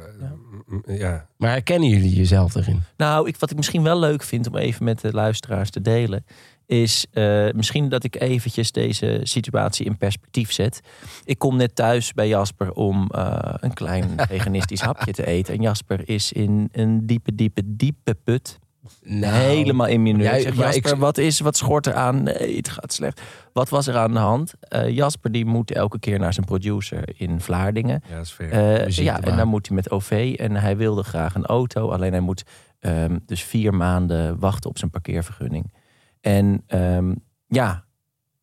Speaker 3: mm, ja.
Speaker 2: Maar herkennen jullie jezelf erin?
Speaker 4: Nou, ik, wat ik misschien wel leuk vind om even met de luisteraars te delen, is eh, misschien dat ik eventjes deze situatie in perspectief zet. Ik kom net thuis bij Jasper om eh, een klein veganistisch hapje te eten. En Jasper is in een diepe, diepe, diepe put.
Speaker 2: Nou,
Speaker 4: Helemaal in minuut.
Speaker 2: Jij- maar
Speaker 4: zeg,
Speaker 2: ik-
Speaker 4: Nou, Jasper, wat, is, wat schort er aan? Nee, het gaat slecht. Wat was er aan de hand? Eh, Jasper die moet elke keer naar zijn producer in Vlaardingen.
Speaker 3: ja, dat is ver.
Speaker 4: Eh,
Speaker 2: muziek te
Speaker 4: ja,
Speaker 2: maken.
Speaker 4: en dan moet hij met OV. En hij wilde graag een auto. Alleen hij moet ehm, dus vier maanden wachten op zijn parkeervergunning. En ehm, ja,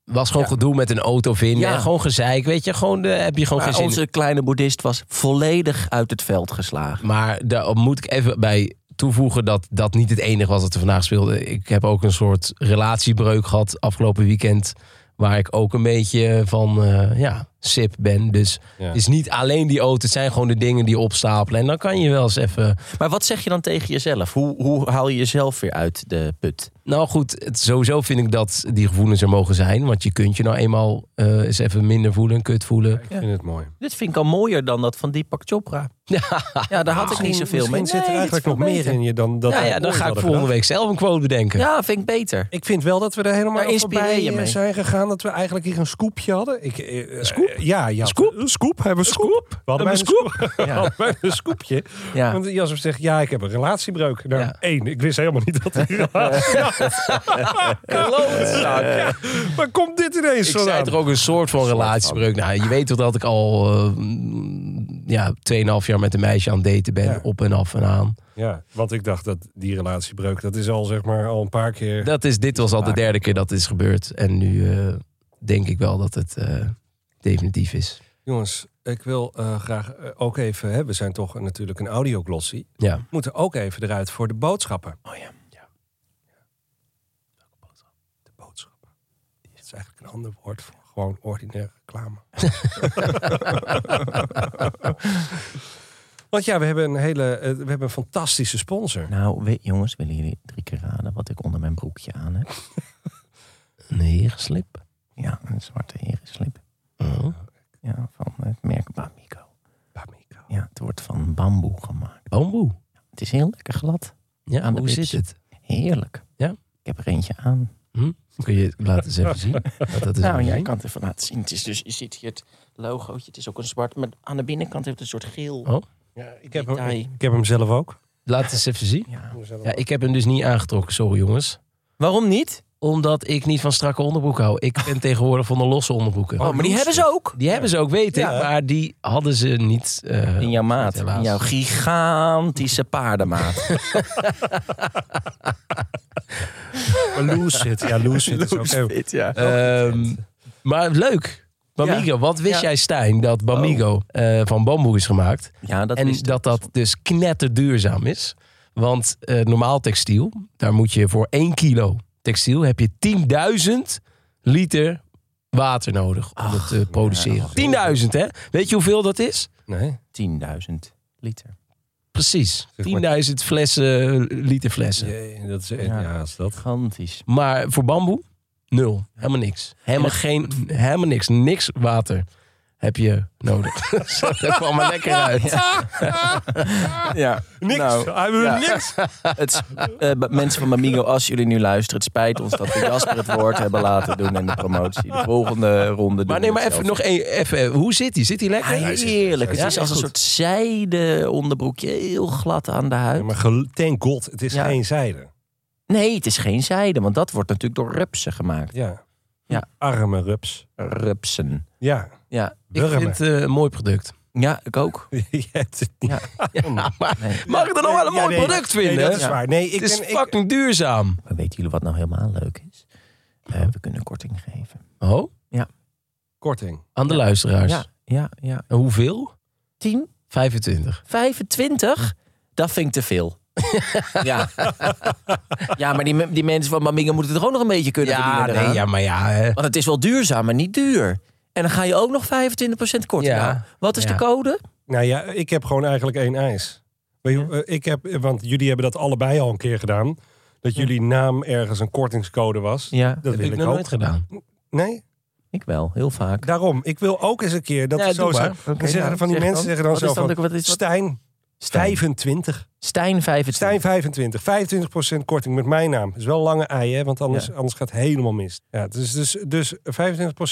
Speaker 2: Was gewoon
Speaker 4: Ja.
Speaker 2: gedoe met een auto vinden.
Speaker 4: Ja.
Speaker 2: en gewoon gezeik, weet je. Gewoon, eh, heb je gewoon
Speaker 4: maar
Speaker 2: geen zin in.
Speaker 4: onze kleine boeddhist was volledig uit het veld geslagen.
Speaker 2: Maar daar moet ik even bij toevoegen dat dat niet het enige was dat er vandaag speelde. Ik heb ook een soort relatiebreuk gehad afgelopen weekend. Waar ik ook een beetje van eh, ja, sip ben. Dus
Speaker 3: Ja.
Speaker 2: het is niet alleen die auto. Het zijn gewoon de dingen die opstapelen. En dan kan je wel eens even...
Speaker 4: Maar wat zeg je dan tegen jezelf? Hoe, hoe haal je jezelf weer uit de put?
Speaker 2: Nou goed, het, sowieso vind ik dat die gevoelens er mogen zijn. Want je kunt je nou eenmaal eh, eens even minder voelen, kut voelen.
Speaker 3: Ik vind het mooi.
Speaker 4: Dit vind ik al mooier dan dat van Deepak Chopra. Ja, daar had ik niet zoveel mee.
Speaker 3: Misschien zit er
Speaker 4: Nee, dit
Speaker 3: eigenlijk
Speaker 4: is
Speaker 3: nog
Speaker 4: veel
Speaker 3: meer
Speaker 4: beter.
Speaker 3: in je dan dat
Speaker 2: Nou
Speaker 3: wij
Speaker 2: ja, dan
Speaker 3: ooit
Speaker 2: ga ik
Speaker 3: hadden
Speaker 2: volgende
Speaker 3: gedacht.
Speaker 2: week zelf een quote bedenken.
Speaker 4: Ja, vind ik beter.
Speaker 3: Ik vind wel dat we er helemaal
Speaker 4: Daar
Speaker 3: aan
Speaker 4: inspireer
Speaker 3: voorbij
Speaker 4: je
Speaker 3: eh,
Speaker 4: mee.
Speaker 3: zijn gegaan. Dat we eigenlijk hier een scoopje hadden. Ik, eh, eh,
Speaker 2: Scoop?
Speaker 3: Ja, ja.
Speaker 2: Scoop?
Speaker 3: Een scoop? Hebben we een scoop? We hadden
Speaker 2: Hebben
Speaker 3: bijna
Speaker 2: we
Speaker 3: een scoop. We
Speaker 4: Ja.
Speaker 3: hadden bijna een scoopje.
Speaker 4: Ja.
Speaker 3: Want Jasper zegt, ja, ik heb een relatiebreuk. Nou,
Speaker 2: Ja.
Speaker 3: één. Ik wist helemaal niet dat ik een relatie
Speaker 4: Klootzak.
Speaker 3: Ja, maar komt dit ineens
Speaker 2: Ik zei
Speaker 3: vandaan?
Speaker 2: toch ook een soort van relatiebreuk. Nou, je weet toch dat ik al eh, ja, 2,5 jaar met een meisje aan het daten ben.
Speaker 3: Ja.
Speaker 2: Op en af en aan.
Speaker 3: Ja, want ik dacht dat die relatiebreuk, dat is al zeg maar al een paar keer...
Speaker 2: Dat is, dit was al de derde keer dat dit is gebeurd. En nu eh, denk ik wel dat het eh, definitief is.
Speaker 3: Jongens, ik wil eh, graag eh, ook even... Hè, we zijn toch eh, natuurlijk een audioglossy.
Speaker 2: Ja.
Speaker 3: We moeten ook even eruit voor de boodschappen.
Speaker 4: Oh ja.
Speaker 3: De boodschappen. Dat is eigenlijk een ander woord voor gewoon ordinaire reclame. Want ja, we hebben een hele... eh, we hebben een fantastische sponsor.
Speaker 4: Nou, we- jongens, willen jullie drie keer raden wat ik onder mijn broekje aan heb?
Speaker 2: Een herenslip.
Speaker 4: Ja, een zwarte herenslip.
Speaker 2: Oh.
Speaker 4: Ja, van het merk Bamigo.
Speaker 3: Bamico.
Speaker 4: Ja, het wordt van bamboe gemaakt.
Speaker 2: Bamboe.
Speaker 4: Het is heel lekker glad.
Speaker 2: Ja,
Speaker 4: Aan de
Speaker 2: hoe
Speaker 4: wips.
Speaker 2: zit het?
Speaker 4: Heerlijk.
Speaker 2: Ja?
Speaker 4: Ik heb er eentje aan.
Speaker 2: Kun je het laten eens even zien? Laat Dat is
Speaker 4: nou,
Speaker 2: even
Speaker 4: jij
Speaker 2: zien.
Speaker 4: kan het even laten zien. Het is dus, je ziet hier het logootje. Het is ook een zwart, maar aan de binnenkant heeft het een soort geel.
Speaker 2: Oh.
Speaker 3: Ja, ik, heb hem,
Speaker 4: detail.
Speaker 3: ik, heb hem zelf ook.
Speaker 2: Laat het eens even zien.
Speaker 4: Ja.
Speaker 2: Ja, ik heb hem dus niet aangetrokken, sorry jongens.
Speaker 4: Waarom niet?
Speaker 2: Omdat ik niet van strakke onderbroeken hou. Ik ben tegenwoordig van de losse onderbroeken.
Speaker 4: Oh, maar die hebben ze ook.
Speaker 2: Die hebben ze ook, weet ik.
Speaker 3: Ja.
Speaker 2: Maar die hadden ze niet. eh,
Speaker 4: In jouw maat.
Speaker 2: helaas.
Speaker 4: In jouw gigantische paardenmaat.
Speaker 3: Loose it. Ja, loose it. is ook even-
Speaker 4: ja.
Speaker 2: Ehm, maar leuk. Bamigo, wat wist
Speaker 4: Oh, Ja. Oh.
Speaker 2: jij Stijn dat Bamigo eh, van bamboe is gemaakt?
Speaker 4: ja, dat
Speaker 2: en
Speaker 4: is
Speaker 2: dat dat dus knetterduurzaam is. Want eh, normaal textiel, daar moet je voor 1 kilo textiel... heb je 10.000 liter water nodig om het te produceren. 10.000 hè? Weet je hoeveel dat is?
Speaker 3: Nee.
Speaker 4: 10.000 liter.
Speaker 2: Precies. 10.000 flessen, eh, liter flessen.
Speaker 3: Jee, dat is echt... Ja,
Speaker 4: Ja.
Speaker 3: is dat...
Speaker 4: Gigantisch.
Speaker 2: Maar voor bamboe, nul. Helemaal niks. Helemaal, geen, helemaal niks. Niks water. heb je nodig. Zo, dat kwam er lekker uit.
Speaker 4: Ja.
Speaker 3: Niks.
Speaker 4: Nou,
Speaker 3: Hij wil
Speaker 4: ja.
Speaker 3: niks.
Speaker 4: het, is- eh, b- mensen van Mamigo, als jullie nu luisteren, het spijt ons dat we Jasper het woord hebben laten doen in de promotie. De volgende ronde. doen
Speaker 2: Maar nee,
Speaker 4: we
Speaker 2: maar
Speaker 4: het
Speaker 2: even
Speaker 4: zelf.
Speaker 2: nog één. Even, hoe zit die? Zit die lekker?
Speaker 4: Heerlijk. Het
Speaker 2: Ja,
Speaker 4: is als een
Speaker 2: goed.
Speaker 4: soort zijde onderbroekje, heel glad aan de
Speaker 3: Ja,
Speaker 4: huid.
Speaker 3: maar gel- thank god, het is
Speaker 4: Ja.
Speaker 3: geen zijde.
Speaker 4: Nee, het is geen zijde, want dat wordt natuurlijk door rupsen gemaakt.
Speaker 3: Ja.
Speaker 4: Ja.
Speaker 3: Arme rups.
Speaker 4: Rupsen.
Speaker 3: Ja.
Speaker 4: Ja,
Speaker 2: Ik
Speaker 3: Wurmen.
Speaker 2: vind het eh, een mooi product.
Speaker 4: ja ik ook.
Speaker 3: Je hebt het niet.
Speaker 4: Ja. nou,
Speaker 2: maar
Speaker 4: Nee.
Speaker 2: mag ik er nog wel Oh, een
Speaker 3: Ja,
Speaker 2: mooi
Speaker 3: nee,
Speaker 2: product
Speaker 3: nee,
Speaker 2: vinden?
Speaker 3: dat is
Speaker 4: Ja.
Speaker 3: waar. Nee, ik
Speaker 2: het is
Speaker 3: ben, ik,
Speaker 2: fucking duurzaam.
Speaker 4: Maar weten jullie wat nou helemaal leuk is? Eh, we kunnen korting geven.
Speaker 2: Oh,
Speaker 3: korting.
Speaker 2: aan de luisteraars.
Speaker 4: Ja, ja, ja.
Speaker 2: En hoeveel?
Speaker 4: 10,
Speaker 2: 25.
Speaker 4: 25? Dat vind ik te veel. ja. ja, maar die, me- die mensen van Mamingen moeten het toch ook nog een beetje kunnen
Speaker 2: Ja,
Speaker 4: verdienen. eraan?
Speaker 2: nee, ja, maar ja. hè.
Speaker 4: Want het is wel duurzaam, maar niet duur. En dan ga je ook nog 25% korting
Speaker 2: Ja.
Speaker 4: aan. Wat is
Speaker 2: Ja.
Speaker 4: de code?
Speaker 3: Nou ja, ik heb gewoon eigenlijk één eis. Weet je, eh, Ik heb, eh, want jullie hebben dat allebei al een keer gedaan. Dat jullie naam ergens een kortingscode was.
Speaker 4: Ja,
Speaker 3: Dat
Speaker 2: heb
Speaker 3: wil
Speaker 2: ik
Speaker 3: ik
Speaker 2: nog
Speaker 3: ook.
Speaker 2: nooit gedaan.
Speaker 3: Nee,
Speaker 4: ik wel. Heel vaak.
Speaker 3: daarom. Ik wil ook eens een keer dat
Speaker 2: Ja,
Speaker 3: we
Speaker 2: doe
Speaker 3: zo
Speaker 2: maar.
Speaker 3: zijn. Dan
Speaker 4: Oké,
Speaker 3: zeggen
Speaker 4: nou,
Speaker 3: er van die
Speaker 4: zeg
Speaker 3: mensen
Speaker 4: dan.
Speaker 3: zeggen dan
Speaker 4: Wat
Speaker 3: zo
Speaker 4: is dan
Speaker 3: van...
Speaker 4: de- wat is- wat-
Speaker 3: Stijn,
Speaker 4: Stijn.
Speaker 3: 25.
Speaker 4: Stijn 25.
Speaker 3: Stijn 25. 25% korting met mijn naam. Dat is wel een lange ei, hè? Want anders,
Speaker 4: Ja.
Speaker 3: anders gaat het helemaal mis. Ja, dus, dus, dus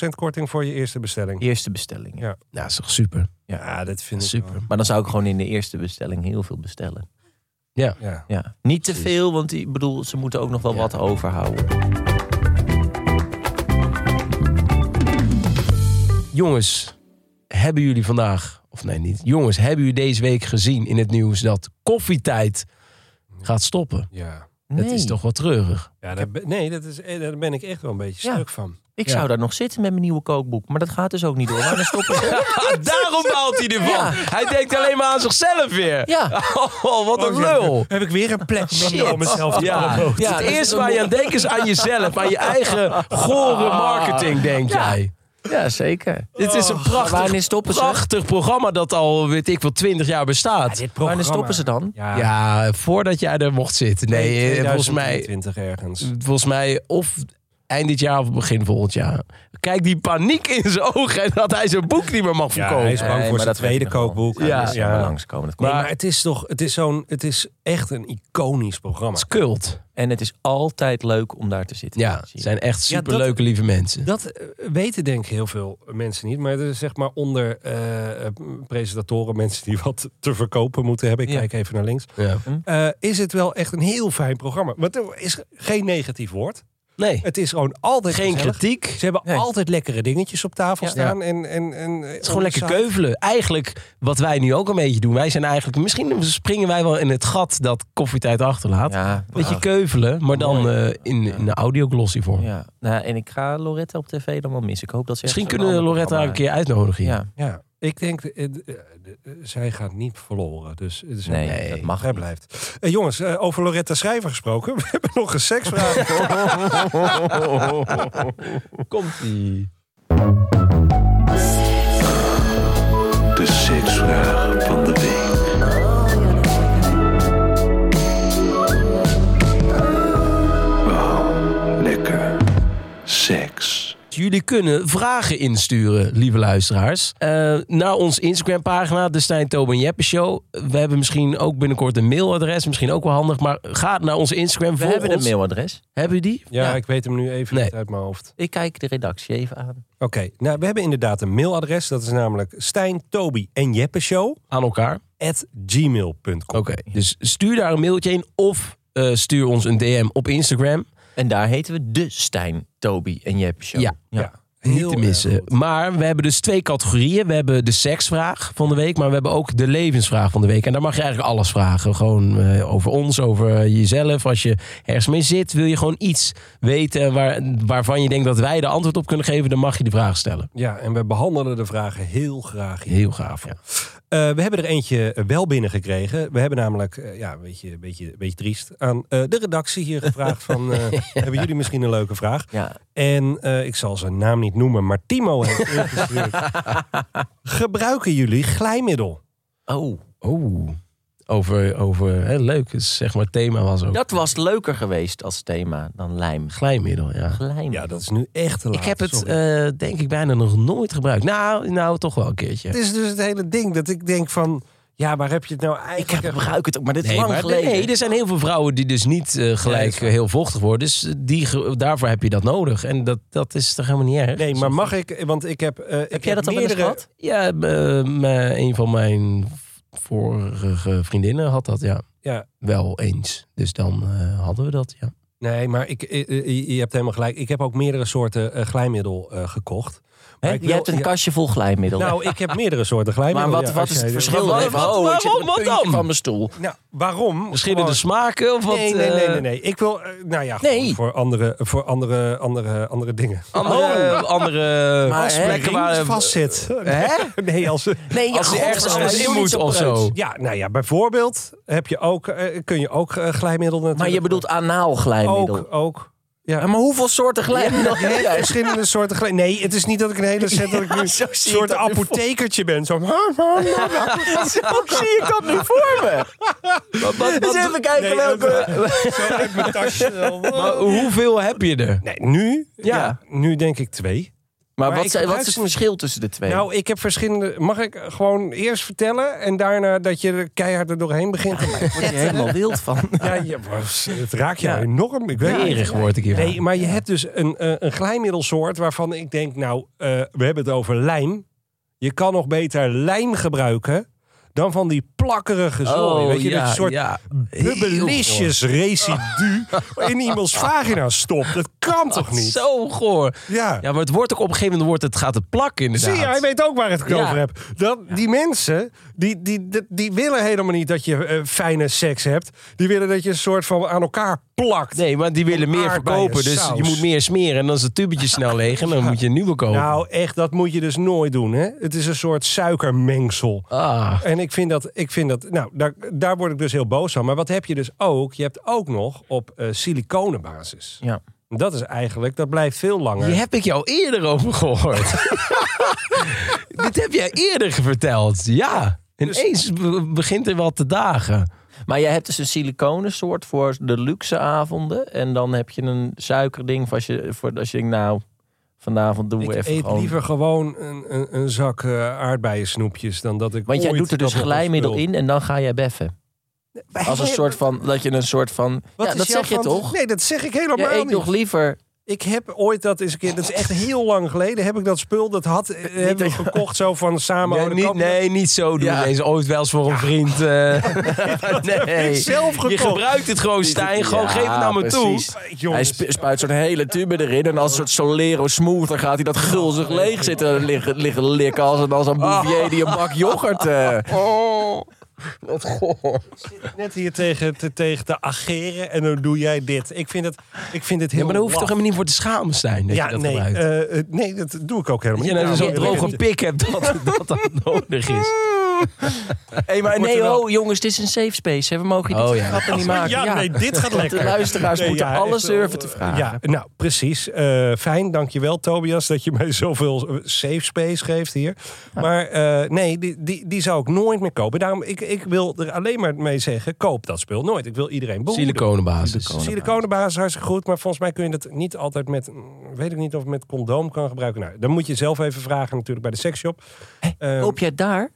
Speaker 3: 25% korting voor je eerste bestelling.
Speaker 4: Eerste bestelling.
Speaker 3: Ja.
Speaker 2: Ja, Nou, is toch super.
Speaker 3: Ja, dat vind ik
Speaker 2: Super.
Speaker 3: wel.
Speaker 4: Maar dan zou ik gewoon in de eerste bestelling heel veel bestellen.
Speaker 3: Ja.
Speaker 4: Ja. Niet te veel, want ik bedoel, ze moeten ook nog wel wat overhouden.
Speaker 2: Jongens, hebben jullie vandaag, of nee niet, jongens, hebben jullie deze week gezien in het nieuws dat koffietijd gaat stoppen?
Speaker 3: Ja.
Speaker 2: Dat
Speaker 4: Nee.
Speaker 2: is toch wel treurig.
Speaker 3: Ja, daar ben- nee, dat is, eh, daar ben ik echt wel een beetje
Speaker 4: Ja.
Speaker 3: stuk van.
Speaker 4: Ik
Speaker 2: Ja.
Speaker 4: zou daar nog zitten met mijn nieuwe kookboek. Maar dat gaat dus ook niet door. Maar dan stoppen ze.
Speaker 2: Daarom baalt hij ervan.
Speaker 4: Ja.
Speaker 2: Hij denkt alleen maar aan zichzelf weer.
Speaker 4: Ja.
Speaker 2: Oh, wat een lul.
Speaker 3: Heb ik weer een plek
Speaker 2: Shit.
Speaker 3: om mezelf te
Speaker 2: Ja,
Speaker 3: promoten?
Speaker 4: Ja,
Speaker 2: het
Speaker 4: dat is
Speaker 2: eerste
Speaker 4: een
Speaker 2: waar je
Speaker 4: mol.
Speaker 2: aan denkt is aan jezelf. Aan je eigen gore
Speaker 3: Ah.
Speaker 2: marketing, denk jij.
Speaker 4: Ja, zeker.
Speaker 2: Dit is
Speaker 3: Oh.
Speaker 2: een
Speaker 4: Maar
Speaker 2: prachtig,
Speaker 4: wanneer stoppen ze?
Speaker 2: prachtig programma dat al, weet ik wel, 20 jaar bestaat.
Speaker 3: Dit programma.
Speaker 4: Wanneer stoppen ze dan?
Speaker 3: Ja,
Speaker 2: Ja, voordat jij er mocht zitten. Nee, eh, volgens mij,
Speaker 3: 20 ergens.
Speaker 2: volgens mij of eind dit jaar of begin volgend jaar. Kijk die paniek in zijn ogen en dat hij zijn boek niet meer mag
Speaker 3: Ja, hij
Speaker 2: verkopen.
Speaker 3: is bang
Speaker 4: Nee,
Speaker 3: voor
Speaker 4: maar
Speaker 3: zijn
Speaker 4: dat weet
Speaker 3: tweede
Speaker 4: ik nog wel.
Speaker 3: kookboek.
Speaker 2: Ja.
Speaker 4: Ja,
Speaker 3: Ja.
Speaker 4: ja. langskomen. Dat komt.
Speaker 3: Nee, maar het is toch, het is zo'n, het is echt een iconisch programma.
Speaker 2: Het is kult.
Speaker 4: En het is altijd leuk om daar te zitten.
Speaker 2: Ja,
Speaker 4: Zie
Speaker 2: het
Speaker 4: je.
Speaker 2: zijn echt
Speaker 3: Ja, dat-
Speaker 2: superleuke lieve mensen.
Speaker 3: Dat eh, weten denk ik heel veel mensen niet. Maar er is zeg maar onder eh, eh, presentatoren, mensen die wat te verkopen moeten hebben. Ik
Speaker 4: Ja.
Speaker 3: kijk even naar links.
Speaker 2: Ja.
Speaker 3: Eh, is het wel echt een heel fijn programma. Want er is geen negatief woord.
Speaker 2: Nee,
Speaker 3: Het is gewoon altijd
Speaker 2: geen
Speaker 3: gezellig.
Speaker 2: kritiek.
Speaker 3: Ze hebben
Speaker 4: Nee.
Speaker 3: altijd lekkere dingetjes op tafel
Speaker 4: Ja.
Speaker 3: staan. En, en, en, eh, het
Speaker 2: Het is gewoon lekker keuvelen. Eigenlijk wat wij nu ook een beetje doen. Wij zijn eigenlijk, misschien springen wij wel in het gat dat koffietijd achterlaat.
Speaker 4: Ja, nou,
Speaker 2: Beetje keuvelen, maar dan eh, in, in een audioglossie vorm.
Speaker 4: Ja. Nou, en ik ga Loretta op tv dan wel mis. Ik hoop dat ze
Speaker 2: Misschien
Speaker 4: ergens
Speaker 2: kunnen we
Speaker 4: een ander
Speaker 2: Loretta een
Speaker 4: programma-
Speaker 2: keer uitnodigen. hier.
Speaker 4: Ja.
Speaker 3: Ja, ik denk, eh, eh, eh, zij gaat niet verloren. Dus eh, zij-
Speaker 4: Nee, dat mag
Speaker 3: Zij
Speaker 4: niet.
Speaker 3: blijft. Eh, jongens, eh, over Loretta Schrijver gesproken. We hebben nog een seksvraag.
Speaker 2: Komt-ie.
Speaker 6: De seksvraag van de week. Wauw, lekker. Seks.
Speaker 2: Jullie kunnen vragen insturen, lieve luisteraars. eh, naar ons Instagram-pagina, de Stijn Toben Jeppe Show. We hebben misschien ook binnenkort een mailadres. Misschien ook wel handig, maar ga naar onze Instagram.
Speaker 4: We
Speaker 2: volg
Speaker 4: hebben een
Speaker 2: ons.
Speaker 4: mailadres.
Speaker 2: Hebben jullie die?
Speaker 3: ja, ik weet hem nu even
Speaker 2: Nee.
Speaker 3: niet uit mijn hoofd.
Speaker 4: Ik kijk de redactie even aan.
Speaker 3: Oké, nou, we hebben inderdaad een mailadres. Dat is namelijk Stijn, Toby en Jeppe Show
Speaker 2: Aan elkaar.
Speaker 3: at gmail.com.
Speaker 2: Oké, dus stuur daar een mailtje in of eh, stuur ons een DM op Instagram.
Speaker 4: En daar heten we de Stijn, Toby en Jep Show.
Speaker 2: Ja.
Speaker 3: Ja,
Speaker 2: Niet
Speaker 3: heel
Speaker 2: te
Speaker 3: erg
Speaker 2: missen.
Speaker 3: goed.
Speaker 2: Maar we hebben dus twee categorieën. We hebben de seksvraag van de week, maar we hebben ook de levensvraag van de week. En daar mag je eigenlijk alles vragen. Gewoon eh, over ons, over jezelf. Als je ergens mee zit, wil je gewoon iets weten waar, waarvan je denkt dat wij de antwoord op kunnen geven, dan mag je die vraag stellen.
Speaker 3: Ja, en we behandelen de vragen heel graag hier.
Speaker 2: Heel gaaf. Ja.
Speaker 3: Eh, we hebben er eentje eh, wel binnengekregen. We hebben namelijk, eh, ja, een beetje, een beetje, een beetje triest, aan eh, de redactie hier gevraagd van... eh, hebben jullie misschien een leuke vraag?
Speaker 4: Ja.
Speaker 3: En eh, ik zal zijn naam niet noemen, maar Timo heeft ingestuurd. Gebruiken jullie glijmiddel?
Speaker 4: Oh,
Speaker 2: Oh. Over, over hè, leuk, dus zeg maar, het thema was ook
Speaker 4: Dat was leuker geweest als thema dan lijm.
Speaker 2: glijmiddel. Ja.
Speaker 4: Glijm.
Speaker 3: Ja, dat is nu echt te laat.
Speaker 2: Ik heb het,
Speaker 3: sorry.
Speaker 2: eh, denk ik, bijna nog nooit gebruikt. Nou, nou toch wel een keertje.
Speaker 3: het is dus het hele ding dat ik denk van... Ja, waar heb je het nou
Speaker 4: ik
Speaker 3: eigenlijk...
Speaker 4: heb, gebruik het ook, maar dit is
Speaker 2: Nee,
Speaker 4: lang
Speaker 2: maar-
Speaker 4: geleden.
Speaker 2: nee, er zijn heel veel vrouwen die dus niet eh,
Speaker 3: Nee, dat
Speaker 2: gelijk
Speaker 3: is waar.
Speaker 2: eh, heel vochtig worden. Dus die, ge- daarvoor heb je dat nodig. En dat, dat is toch helemaal niet erg?
Speaker 3: Nee, maar mag ik... Want ik heb... eh, ik
Speaker 4: heb jij dat al
Speaker 3: meerdere...
Speaker 4: meerdere... gehad?
Speaker 2: Ja, eh, mijn- een van mijn vorige vriendinnen had dat, ja.
Speaker 3: Ja.
Speaker 2: Wel eens. Dus dan eh, hadden we dat, ja.
Speaker 3: Nee, maar ik, eh, eh, je- je hebt helemaal gelijk. Ik heb ook meerdere soorten eh, glijmiddel eh, gekocht. Maar ik
Speaker 4: Je
Speaker 3: wil-
Speaker 4: hebt een
Speaker 3: ja,
Speaker 4: kastje vol glijmiddel.
Speaker 3: Nou, ik heb meerdere soorten
Speaker 4: maar
Speaker 3: glijmiddel.
Speaker 4: wat,
Speaker 3: ja,
Speaker 4: wat
Speaker 3: als
Speaker 4: is het
Speaker 3: jij-
Speaker 4: verschil?
Speaker 2: Wat-
Speaker 4: dan even?
Speaker 2: wat-
Speaker 4: oh, ik zit op
Speaker 2: waarom-
Speaker 4: het
Speaker 2: wat
Speaker 4: puntje
Speaker 2: dan?
Speaker 4: van mijn stoel.
Speaker 3: Nou, waarom?
Speaker 2: Verschillende
Speaker 3: Gewoon-
Speaker 2: smaken of wat?
Speaker 3: Nee, nee, nee,
Speaker 2: eh,
Speaker 3: nee, nee. Ik wil, eh, nou ja, gewoon
Speaker 2: Nee.
Speaker 3: voor, andere, voor andere, andere, andere dingen.
Speaker 2: eh, Andere, andere
Speaker 4: Maar, Ah, hè,
Speaker 2: plekken waar...
Speaker 3: vastzit.
Speaker 2: Hè?
Speaker 3: Nee, als,
Speaker 2: Nee, ja,
Speaker 4: Als je
Speaker 2: God,
Speaker 4: ergens
Speaker 2: als
Speaker 4: anders
Speaker 2: je
Speaker 4: in moet
Speaker 2: zoiets
Speaker 4: of
Speaker 2: opruimt.
Speaker 4: zo.
Speaker 3: ja, nou ja, bijvoorbeeld heb je ook, eh, kun je ook eh, glijmiddel natuurlijk.
Speaker 4: Maar je bedoelt anaal glijmiddel.
Speaker 3: ook, ook.
Speaker 2: Eh,
Speaker 4: Ja, maar hoeveel soorten glijmiddel heb
Speaker 3: Ja,
Speaker 4: jij?
Speaker 3: verschillende soorten glij- Nee, het is niet dat ik een hele set dat ik nu een
Speaker 4: zo zie ik
Speaker 3: soort
Speaker 4: dat nu voor-
Speaker 3: apothekertje ben. Zo.
Speaker 4: Hoe zie ik dat nu voor me? Dus even kijken
Speaker 3: Nee,
Speaker 4: welke...
Speaker 3: Zo uit mijn tasje.
Speaker 2: Maar hoeveel heb je er?
Speaker 3: Nee, nu?
Speaker 4: Ja.
Speaker 3: Nu denk ik twee.
Speaker 4: Maar,
Speaker 3: Maar ik
Speaker 4: wat, zijn- wat
Speaker 3: gebruik
Speaker 4: is het
Speaker 3: ze-
Speaker 4: verschil tussen de twee?
Speaker 3: Nou, ik heb verschillende... Mag ik gewoon eerst vertellen en daarna dat je er keihard er doorheen begint?
Speaker 4: ik word er helemaal wild van.
Speaker 3: Ja, je- maar het raakt je
Speaker 2: Ja.
Speaker 3: enorm. Ik weet
Speaker 2: Erig word ik hier.
Speaker 3: Nee, maar je hebt dus een, eh, een glijmiddelsoort waarvan ik denk, nou, eh, we hebben het over lijm. Je kan nog beter lijm gebruiken dan van die plakkerige zooi. weet je, dat je een soort
Speaker 2: Oh, ja.
Speaker 3: bubbelisjes residu in iemands vagina stopt. Dat kan toch niet?
Speaker 2: Zo goor.
Speaker 3: Ja.
Speaker 2: Ja, maar het wordt ook op een gegeven moment wordt het, gaat het plakken inderdaad.
Speaker 3: Zie je, hij weet ook waar het
Speaker 2: Ja.
Speaker 3: over heb. Dat, die mensen, die, die, die, die willen helemaal niet dat je eh, fijne seks hebt. Die willen dat je een soort van aan elkaar plakt.
Speaker 2: Nee, want die willen meer
Speaker 3: Aardbeien,
Speaker 2: verkopen. Dus
Speaker 3: saus.
Speaker 2: je moet meer smeren. En dan is het tubetje snel leeg. En dan moet je een nieuwe kopen.
Speaker 3: Nou, echt, dat moet je dus nooit doen, hè? Het is een soort suikermengsel.
Speaker 2: ah.
Speaker 3: En ik vind dat, ik vind dat nou, daar, daar word ik dus heel boos van. Maar wat heb je dus ook? Je hebt ook nog op eh, siliconenbasis.
Speaker 4: Ja.
Speaker 3: Dat is eigenlijk, dat blijft veel langer.
Speaker 2: Hier heb ik jou eerder over gehoord. Dit heb jij eerder verteld. Ja.
Speaker 3: Dus-
Speaker 2: Ineens be- begint er wat te dagen.
Speaker 4: Maar je hebt dus een siliconen soort voor de luxe avonden. En dan heb je een suikerding voor als je, voor als je denkt, nou, vanavond doen we
Speaker 3: Ik
Speaker 4: even
Speaker 3: eet
Speaker 4: gewoon...
Speaker 3: liever gewoon een, een, een zak eh aardbeien snoepjes dan dat ik.
Speaker 4: Want jij
Speaker 3: ooit
Speaker 4: doet er dus
Speaker 3: dat nog
Speaker 4: glijmiddel
Speaker 3: eens
Speaker 4: in en dan ga jij beffen.
Speaker 3: wil.
Speaker 4: Als een soort van, dat je een soort van...
Speaker 3: Wat
Speaker 4: ja,
Speaker 3: is
Speaker 4: dat
Speaker 3: jouw
Speaker 4: zeg je
Speaker 3: fant-
Speaker 4: toch?
Speaker 3: Nee, dat zeg ik
Speaker 4: Je
Speaker 3: helemaal
Speaker 4: eet
Speaker 3: niet.
Speaker 4: nog liever...
Speaker 3: Ik heb ooit dat eens een keer, dat is echt heel lang geleden, heb ik dat spul, dat had, eh, hebben we gekocht zo van samen.
Speaker 2: Nee,
Speaker 3: oh, dan
Speaker 2: niet,
Speaker 3: kopen we-
Speaker 2: nee, niet zo doen.
Speaker 4: Ja.
Speaker 2: Ineens ooit wel eens voor een vriend. eh. nee.
Speaker 3: zelf
Speaker 2: Je
Speaker 3: gekocht.
Speaker 2: gebruikt het gewoon, Stijn. Gewoon
Speaker 4: Ja,
Speaker 2: geef het
Speaker 3: nou
Speaker 2: naar me
Speaker 4: precies.
Speaker 2: toe.
Speaker 4: Hij
Speaker 3: Jongens,
Speaker 4: sp- spuit zo'n hele tube erin en als een soort Solero smooth, dan gaat hij dat gulzig leeg zitten liggen, liggen likken als een, als een
Speaker 3: Oh.
Speaker 4: bouvier die een bak yoghurt... eh.
Speaker 3: net hier tegen te, tegen te ageren en dan doe jij dit. Ik vind het, ik vind het heel
Speaker 2: Ja, maar daar hoef je toch
Speaker 3: laf.
Speaker 2: helemaal niet voor te schamen, Stijn. Dat je
Speaker 3: Ja,
Speaker 2: dat
Speaker 3: nee,
Speaker 2: gebruikt.
Speaker 3: eh, eh, nee, dat doe ik ook helemaal
Speaker 2: Dat je nou
Speaker 3: niet. Nou,
Speaker 2: zo'n
Speaker 3: ik-
Speaker 2: droge
Speaker 3: ik-
Speaker 2: pik hebt dat dat, dat nodig is.
Speaker 4: Hey, maar
Speaker 3: wordt
Speaker 4: nee,
Speaker 3: er wel-
Speaker 4: oh, jongens, dit is een safe space. Hè? We mogen dit
Speaker 2: Oh,
Speaker 4: soort
Speaker 2: ja.
Speaker 4: grappen niet maken.
Speaker 3: Ja, nee, dit gaat
Speaker 4: Want
Speaker 3: lekker.
Speaker 4: de luisteraars
Speaker 3: Nee,
Speaker 4: moeten
Speaker 3: ja,
Speaker 4: alles
Speaker 3: echt,
Speaker 4: durven
Speaker 3: eh,
Speaker 4: te vragen.
Speaker 3: Ja, nou, precies. Eh fijn, dankjewel Tobias dat je mij zoveel eh, safe space geeft hier. Maar eh, nee, die, die, die zou ik nooit meer kopen. Daarom, ik, ik wil er alleen maar mee zeggen, koop dat spul nooit. Ik wil iedereen behoeden.
Speaker 2: Siliconenbasis.
Speaker 3: Siliconenbasis is hartstikke goed, maar volgens mij kun je dat niet altijd met, mm, weet ik niet of het met condoom kan gebruiken. Nou, dan moet je zelf even vragen natuurlijk bij de seksshop. Ehm,
Speaker 4: Koop jij daar?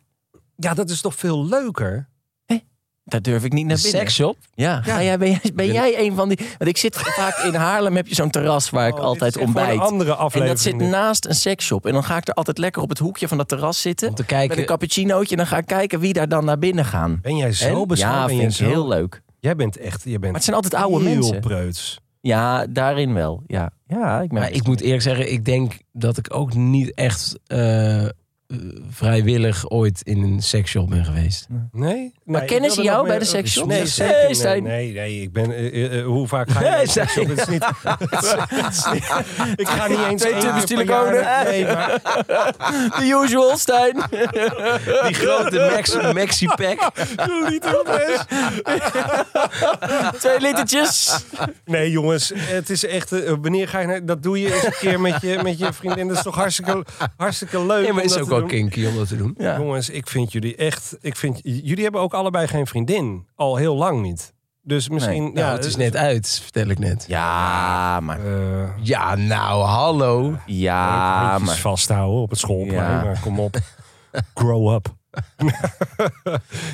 Speaker 3: ja, dat is toch veel leuker?
Speaker 4: Daar durf ik niet naar binnen.
Speaker 2: Sexshop?
Speaker 4: Ja, Ga jij, ben, jij, ben jij een van die... Want ik zit vaak in Haarlem, heb je zo'n terras waar ik
Speaker 3: Oh,
Speaker 4: altijd
Speaker 3: dit is echt voor
Speaker 4: ontbijt.
Speaker 3: een andere
Speaker 4: En
Speaker 3: aflevering.
Speaker 4: dat zit
Speaker 3: dit.
Speaker 4: naast een seksshop. En dan ga ik er altijd lekker op het hoekje van dat terras zitten.
Speaker 2: Om te kijken-
Speaker 4: Met een cappuccinootje. En dan ga ik kijken wie daar dan naar binnen gaan.
Speaker 3: ben jij zo
Speaker 4: En?
Speaker 3: beschouwd?
Speaker 4: Ja,
Speaker 3: Ben jij
Speaker 4: vind ik
Speaker 3: zo-
Speaker 4: heel leuk.
Speaker 3: Jij bent echt, je bent
Speaker 4: Maar het zijn altijd oude
Speaker 3: heel
Speaker 4: mensen.
Speaker 3: preuts.
Speaker 4: Ja, daarin wel. Ja, ja ik merk
Speaker 2: Maar ik moet eerlijk zeggen, ik denk dat ik ook niet echt eh, eh, vrijwillig ooit in een seksshop ben geweest.
Speaker 3: Nee? maar
Speaker 4: kennen ze jou bij de seksshop?
Speaker 3: Nee,
Speaker 4: Nee,
Speaker 3: zeker
Speaker 4: hey,
Speaker 3: niet.
Speaker 4: Stijn.
Speaker 3: Nee, nee, ik ben... eh, eh, eh, hoe vaak ga je
Speaker 2: Hey,
Speaker 3: naar de seksshop?
Speaker 2: Stijn.
Speaker 3: Het is niet... het is niet- ik ga niet eens...
Speaker 4: Twee
Speaker 3: één
Speaker 4: tubes
Speaker 3: keer per jaar
Speaker 4: siliconen.
Speaker 3: naar- Nee, maar
Speaker 4: The usual, Stijn.
Speaker 2: Die grote Max, Maxi-pack.
Speaker 3: doe niet heel best.
Speaker 4: Twee litertjes.
Speaker 3: Nee, jongens. Het is echt... eh, wanneer ga je naar... Dat doe je eens een keer met je, met je vriendin. Dat is toch hartstikke, hartstikke leuk.
Speaker 2: Nee, maar is
Speaker 3: omdat
Speaker 2: ook
Speaker 3: het
Speaker 2: wel
Speaker 3: doen.
Speaker 2: kinky om dat te doen.
Speaker 4: Ja.
Speaker 3: Jongens, ik vind jullie echt. Ik vind, j- jullie hebben ook allebei geen vriendin. Al heel lang niet. Dus misschien.
Speaker 4: Nee.
Speaker 3: ja,
Speaker 2: Nou, het is net uit, vertel ik net.
Speaker 4: Ja, maar.
Speaker 3: eh,
Speaker 2: Ja, nou, hallo.
Speaker 4: eh, Ja,
Speaker 3: handjes
Speaker 4: maar.
Speaker 3: vasthouden op het schoolplein.
Speaker 4: Ja.
Speaker 3: Maar Kom op. Grow up.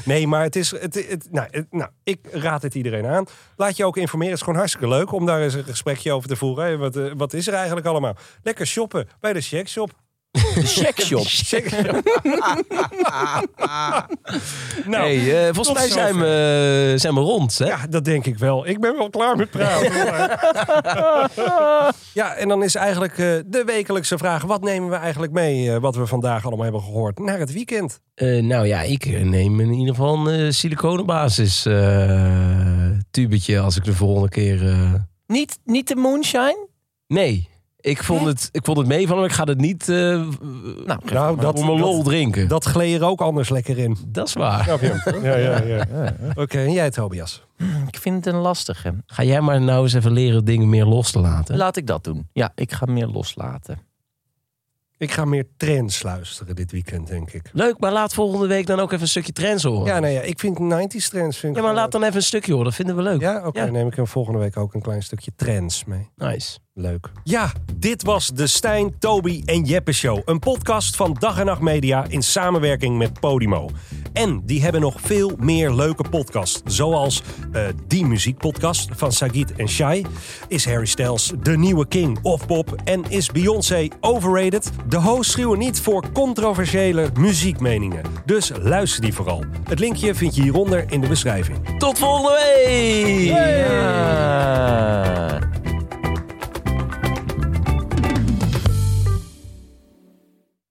Speaker 3: nee, maar het is. Het, het, nou, het- nou, ik raad het iedereen aan. Laat je ook informeren. Het is gewoon hartstikke leuk om daar eens een gesprekje over te voeren. Hey, wat, eh, wat is er eigenlijk allemaal? Lekker shoppen bij de Shack Shop.
Speaker 4: De check shop.
Speaker 3: Nou,
Speaker 2: hey, eh, volgens
Speaker 3: tot
Speaker 2: mij zijn
Speaker 3: zover.
Speaker 2: we, eh, zijn we rond, hè?
Speaker 3: Ja, dat denk ik wel. Ik ben wel klaar met praten. Maar- ja, en dan is eigenlijk eh, de wekelijkse vraag: wat nemen we eigenlijk mee, eh, wat we vandaag allemaal hebben gehoord, naar het weekend?
Speaker 2: Eh, nou ja, ik eh, neem in ieder geval een eh, siliconenbasis eh, tubetje als ik de volgende keer... eh,
Speaker 4: Niet, niet de moonshine?
Speaker 2: Nee, ik vond, het, ik vond het mee van, maar ik ga het niet eh
Speaker 4: Nou, geef
Speaker 3: Nou,
Speaker 4: maar.
Speaker 3: dat-
Speaker 2: voor mijn lol drinken. Dat,
Speaker 3: Dat gleed er ook anders lekker in.
Speaker 2: is waar.
Speaker 3: Snap je? Ja, ja, ja. Oké, en jij, Tobias?
Speaker 4: ik vind het een lastige.
Speaker 2: Ga jij maar nou eens even leren dingen meer los te laten.
Speaker 4: Laat ik dat doen. Ja, ik ga meer loslaten.
Speaker 3: Ik ga meer trends luisteren dit weekend, denk ik.
Speaker 2: Leuk, maar laat volgende week dan ook even een stukje trends horen.
Speaker 3: Ja,
Speaker 2: Ja,
Speaker 3: nou ja, ik vind 90s trends. Vind ik
Speaker 2: maar
Speaker 3: wel
Speaker 2: laat dan even een stukje horen, dat vinden we leuk.
Speaker 3: leuk. Ja, oké,
Speaker 2: Ja.
Speaker 3: dan neem ik hem volgende week ook een klein stukje trends mee.
Speaker 2: Nice.
Speaker 3: Leuk. Ja, dit was de Stijn, Toby en Jeppe Show. Een podcast van Dag en Nacht Media in samenwerking met Podimo. En die hebben nog veel meer leuke podcasts. Zoals eh, die muziekpodcast van Sagit en Shai. Is Harry Styles de nieuwe king of pop? En is Beyoncé overrated? De hosts schreeuwen niet voor controversiële muziekmeningen. Dus luister die vooral. Het linkje vind je hieronder in de beschrijving.
Speaker 2: Tot volgende week!
Speaker 4: Ja.